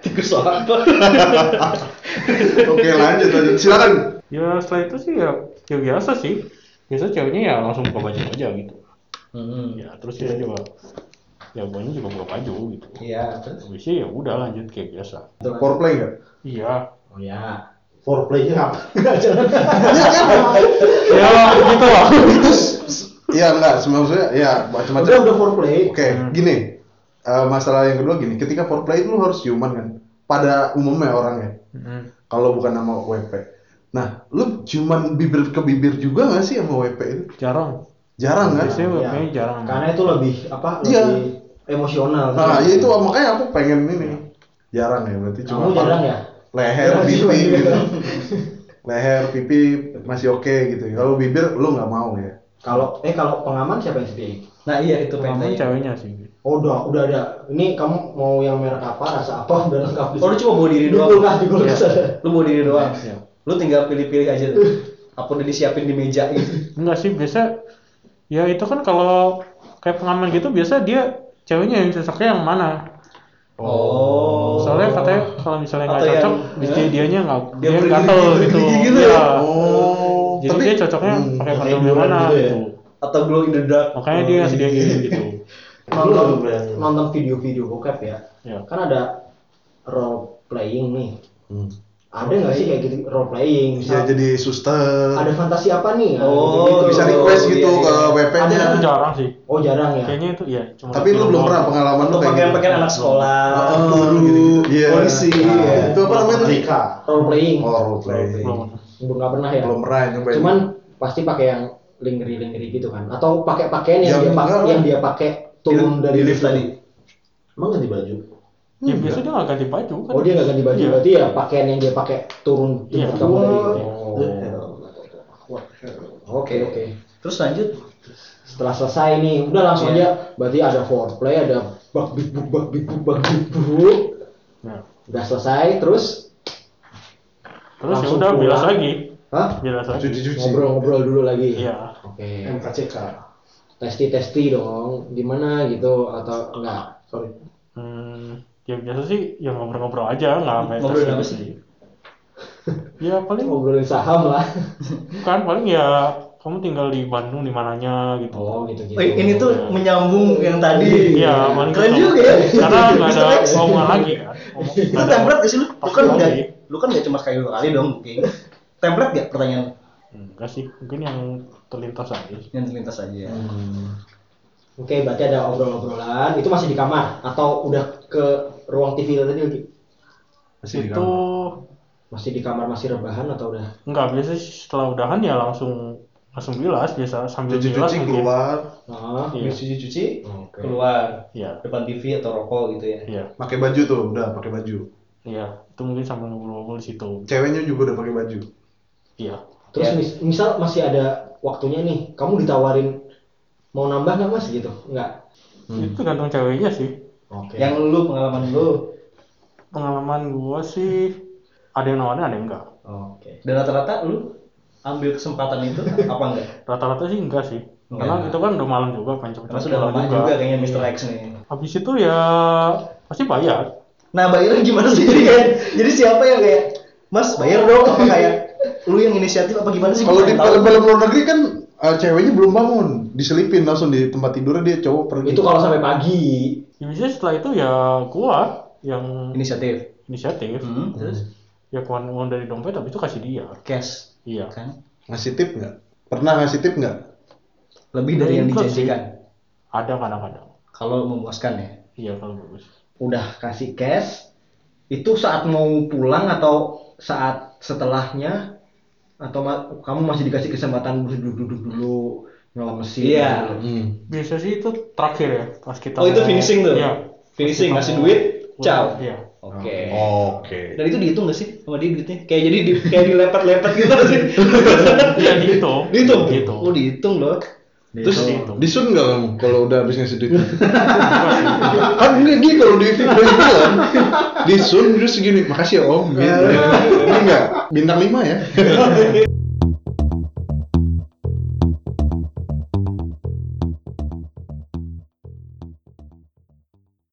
Speaker 4: tikus soal apa
Speaker 1: Oke lanjut lanjut silakan.
Speaker 5: Ya setelah itu sih ya, ya biasa sih. Biasa ceweknya ya langsung buka baju aja gitu.
Speaker 4: Hmm,
Speaker 5: Ya terus dia juga ya guanya juga buka baju gitu.
Speaker 4: iya terus
Speaker 5: Habisnya ya udah lanjut kayak biasa.
Speaker 1: Foreplay nggak?
Speaker 5: Iya.
Speaker 2: Oh ya.
Speaker 6: Foreplaynya apa?
Speaker 5: Ya gitu lah.
Speaker 1: Iya nggak. Maksudnya ya macam-macam.
Speaker 6: Udah udah foreplay.
Speaker 2: Kan?
Speaker 1: Oke gini Eh, masalah yang kedua gini. Ketika foreplay itu lu harus human kan. Pada umumnya orangnya.
Speaker 5: Hmm,
Speaker 1: Kalau bukan nama WP. Nah, lu cuman bibir ke bibir juga nggak sih sama WP itu?
Speaker 5: Jarang.
Speaker 1: Jarang kan?
Speaker 5: Biasanya
Speaker 2: Iya.
Speaker 5: WP-nya jarang.
Speaker 2: Karena itu lebih apa? Lebih
Speaker 1: Iya.
Speaker 2: emosional.
Speaker 1: Nah, ya itu makanya aku pengen ini. Jarang ya berarti cuma
Speaker 2: Kamu jarang ya? iya.
Speaker 1: leher,
Speaker 2: Jarang sih,
Speaker 1: pipi
Speaker 2: Bang.
Speaker 1: gitu. leher, pipi masih oke gitu. Kalau bibir lu nggak mau ya.
Speaker 2: Kalau eh kalau pengaman siapa yang sediain?
Speaker 4: nah iya itu pengen
Speaker 5: Pengen
Speaker 4: tanya
Speaker 5: ceweknya sih.
Speaker 2: Oh, udah, udah ada. Ini kamu mau yang merek apa, rasa apa, udah lengkap.
Speaker 4: oh lu cuma bawa diri
Speaker 2: Di
Speaker 4: doang
Speaker 2: kulkas, di kulkas.
Speaker 4: lu bawa diri doang lu tinggal pilih-pilih aja tuh apa udah disiapin di meja gitu
Speaker 5: Enggak sih biasa ya itu kan kalau kayak pengaman gitu biasa dia ceweknya yang cocoknya yang mana
Speaker 4: oh
Speaker 5: soalnya katanya kalau misalnya nggak
Speaker 4: Atau
Speaker 5: cocok
Speaker 4: yang-
Speaker 5: biasanya
Speaker 4: ya?
Speaker 5: dianya nggak
Speaker 4: Dia
Speaker 5: dia, yang
Speaker 4: beli-
Speaker 5: gatel
Speaker 4: beli-
Speaker 5: gitu
Speaker 4: beli gitu
Speaker 5: Iya.
Speaker 4: ya? hmm,
Speaker 1: Oh,
Speaker 5: jadi dia cocoknya pakai
Speaker 6: pakai
Speaker 5: kondom yang
Speaker 6: duluan
Speaker 5: mana
Speaker 6: gitu ya?
Speaker 5: gitu
Speaker 4: atau glow in the dark
Speaker 5: makanya dia sediain gitu
Speaker 2: nonton,
Speaker 6: Belum, belum.
Speaker 2: nonton video-video bokep ya.
Speaker 5: ya
Speaker 2: Kan ada role playing nih.
Speaker 1: Hmm.
Speaker 2: Ada nggak sih kayak gitu role playing?
Speaker 4: Nah,
Speaker 1: Bisa
Speaker 2: Misal,
Speaker 1: Iya, jadi suster.
Speaker 2: Ada fantasi apa nih? Nah,
Speaker 4: Oh,
Speaker 2: gitu-gitu.
Speaker 1: bisa request gitu
Speaker 4: Iya,
Speaker 1: ke
Speaker 4: iya.
Speaker 1: WP-nya.
Speaker 5: itu jarang sih
Speaker 2: Oh, jarang ya.
Speaker 5: kayaknya itu ya cuma
Speaker 1: Tapi lu belum pernah pengalaman lu
Speaker 4: atau
Speaker 1: kayak gitu.
Speaker 4: pakaian-pakaian anak sekolah
Speaker 1: Oh,
Speaker 4: guru gitu,
Speaker 1: gitu-gitu. Iya.
Speaker 4: polisi
Speaker 1: Nah,
Speaker 4: ya.
Speaker 1: Itu apa namanya tadi?
Speaker 6: Rika.
Speaker 2: Role playing.
Speaker 1: Oh, role play.
Speaker 5: belum
Speaker 2: Belum nggak pernah ya.
Speaker 1: Belum pernah nyobain.
Speaker 2: Cuman pasti pakai yang lingerie-lingerie gitu kan atau pakai pakaian
Speaker 1: Ya, Iya.
Speaker 2: yang dia pakai
Speaker 1: enggak lah.
Speaker 2: yang dia pakai turun
Speaker 1: Di-
Speaker 2: dari
Speaker 1: di lift tadi.
Speaker 6: Emang ganti baju?
Speaker 5: ya biasa dia nggak ganti baju kan
Speaker 2: Oh dia nggak ganti baju
Speaker 5: Iya.
Speaker 2: berarti ya pakaian yang dia pakai turun
Speaker 5: Iya.
Speaker 2: tingkat kamu dari
Speaker 1: Oh.
Speaker 6: Eh,
Speaker 2: Wah, Oh. Oke oke.
Speaker 4: Terus lanjut
Speaker 2: Setelah selesai nih, udah langsung
Speaker 5: Iya.
Speaker 2: aja. Berarti ada foreplay, ada bug big bug bug big bug bug big bug.
Speaker 5: Nah,
Speaker 2: Udah selesai, terus
Speaker 5: terus ya
Speaker 2: Langsung
Speaker 5: udah
Speaker 2: pulang.
Speaker 5: bilas lagi,
Speaker 2: hah?
Speaker 5: bilas lagi.
Speaker 1: Cuci-cuci.
Speaker 2: Ngobrol-ngobrol dulu lagi.
Speaker 5: Iya.
Speaker 2: Oke.
Speaker 6: MKCK.
Speaker 2: Testi-testi dong. Gimana gitu atau enggak?
Speaker 6: Sorry.
Speaker 5: Hmm, ya biasa sih ya ngobrol-ngobrol aja nggak sampai
Speaker 4: ngobrol
Speaker 5: terus-
Speaker 4: apa sih?
Speaker 5: Ya paling
Speaker 2: Ngobrolin saham lah.
Speaker 5: bukan paling ya kamu tinggal di Bandung di mananya gitu.
Speaker 2: Oh, gitu-gitu.
Speaker 4: Oh, ini tuh menyambung yang tadi.
Speaker 5: Iya, paling
Speaker 4: Keren
Speaker 5: gitu.
Speaker 4: juga ya.
Speaker 5: Karena nggak ada
Speaker 4: Mr. X.
Speaker 5: omongan lagi kan. Omong-
Speaker 4: Itu
Speaker 5: nggak ada
Speaker 4: template nggak sih lu? Lu kan
Speaker 5: Pasti
Speaker 4: udah,
Speaker 5: lagi.
Speaker 4: lu kan nggak cuma sekali dua kali dong mungkin. Template nggak pertanyaan
Speaker 5: Enggak Hmm, sih, mungkin yang terlintas aja.
Speaker 4: yang terlintas aja.
Speaker 2: Hmm. Oke, berarti ada obrol-obrolan. Itu masih di kamar atau udah ke ruang TV tadi lagi?
Speaker 1: Masih di
Speaker 5: itu
Speaker 1: kamar.
Speaker 2: Masih di kamar masih rebahan atau udah?
Speaker 5: enggak biasa sih setelah udahan ya langsung langsung bilas biasa sambil bilas
Speaker 1: Cuci-cuci keluar,
Speaker 2: Nah,
Speaker 5: Iya.
Speaker 4: Habis cuci-cuci
Speaker 2: oke.
Speaker 4: keluar
Speaker 5: Iya.
Speaker 4: depan TV atau rokok gitu ya.
Speaker 5: Iya.
Speaker 1: pakai baju tuh, udah pakai baju.
Speaker 5: Iya, itu mungkin sambil ngobrol-ngobrol di situ.
Speaker 1: Ceweknya juga udah pakai baju.
Speaker 5: Iya.
Speaker 2: Terus
Speaker 4: Ya.
Speaker 2: mis- misal masih ada waktunya nih, kamu ditawarin mau nambah nggak mas gitu? Nggak.
Speaker 4: Hmm.
Speaker 5: Itu gantung ceweknya sih.
Speaker 2: Oke.
Speaker 4: Yang lu pengalaman lu
Speaker 5: Pengalaman gua sih ada yang nawarin ada yang enggak.
Speaker 2: Oke.
Speaker 4: dan rata-rata lu ambil kesempatan itu apa enggak?
Speaker 5: Rata-rata sih enggak sih. Karena
Speaker 2: Enggak.
Speaker 5: itu kan udah malam juga pengen cepet
Speaker 4: Karena sudah lama juga kayaknya Mr. X nih.
Speaker 5: Habis itu ya pasti bayar.
Speaker 4: Nah bayarnya gimana sih jadi kayak, jadi siapa yang kayak Mas bayar dong apa kayak lu yang inisiatif apa gimana sih?
Speaker 1: Kalau
Speaker 4: Gua
Speaker 1: di
Speaker 4: nggak tahu.
Speaker 1: film-film luar negeri kan eh, ceweknya belum bangun, diselipin langsung di tempat tidurnya dia cowok pergi.
Speaker 2: Itu kalau sampai pagi.
Speaker 5: Ya, biasanya setelah itu ya gua yang
Speaker 4: inisiatif
Speaker 5: inisiatif.
Speaker 4: Hmm, terus
Speaker 5: Ya keluar uang dari dompet habis itu kasih dia.
Speaker 4: cash
Speaker 5: Iya.
Speaker 4: kan
Speaker 1: ngasih tip nggak? Pernah ngasih tip nggak?
Speaker 4: lebih dari yang
Speaker 5: Ikut sih.
Speaker 4: dijanjikan
Speaker 5: Ada kadang-kadang.
Speaker 4: kalau memuaskan ya.
Speaker 5: Iya kalau bagus.
Speaker 2: Udah kasih cash. Itu saat mau pulang atau saat setelahnya atau ma- kamu masih dikasih kesempatan duduk-duduk dulu ngelemesin.
Speaker 4: Iya.
Speaker 2: dulu.
Speaker 5: Biasa sih itu terakhir ya pas kita.
Speaker 4: Oh itu
Speaker 5: mau-
Speaker 4: finishing tuh.
Speaker 5: Iya.
Speaker 4: Finishing
Speaker 5: Pas kita
Speaker 4: ngasih
Speaker 5: mau-
Speaker 4: duit, ciao. Oh,
Speaker 5: Iya.
Speaker 4: Oke.
Speaker 1: Oke.
Speaker 4: Dan itu dihitung gak sih sama dia duitnya? Kayak jadi di, kayak dilepet-lepet gitu gak sih.
Speaker 5: Iya dihitung.
Speaker 4: dihitung.
Speaker 5: Dihitung.
Speaker 4: Oh dihitung loh.
Speaker 1: Terus
Speaker 5: Dihitung.
Speaker 1: disun nggak kamu kalau udah habis ngasih duit? kan dia, dia kalau kan. di film film disun terus segini makasih ya om gitu. Ini nggak bintang lima ya.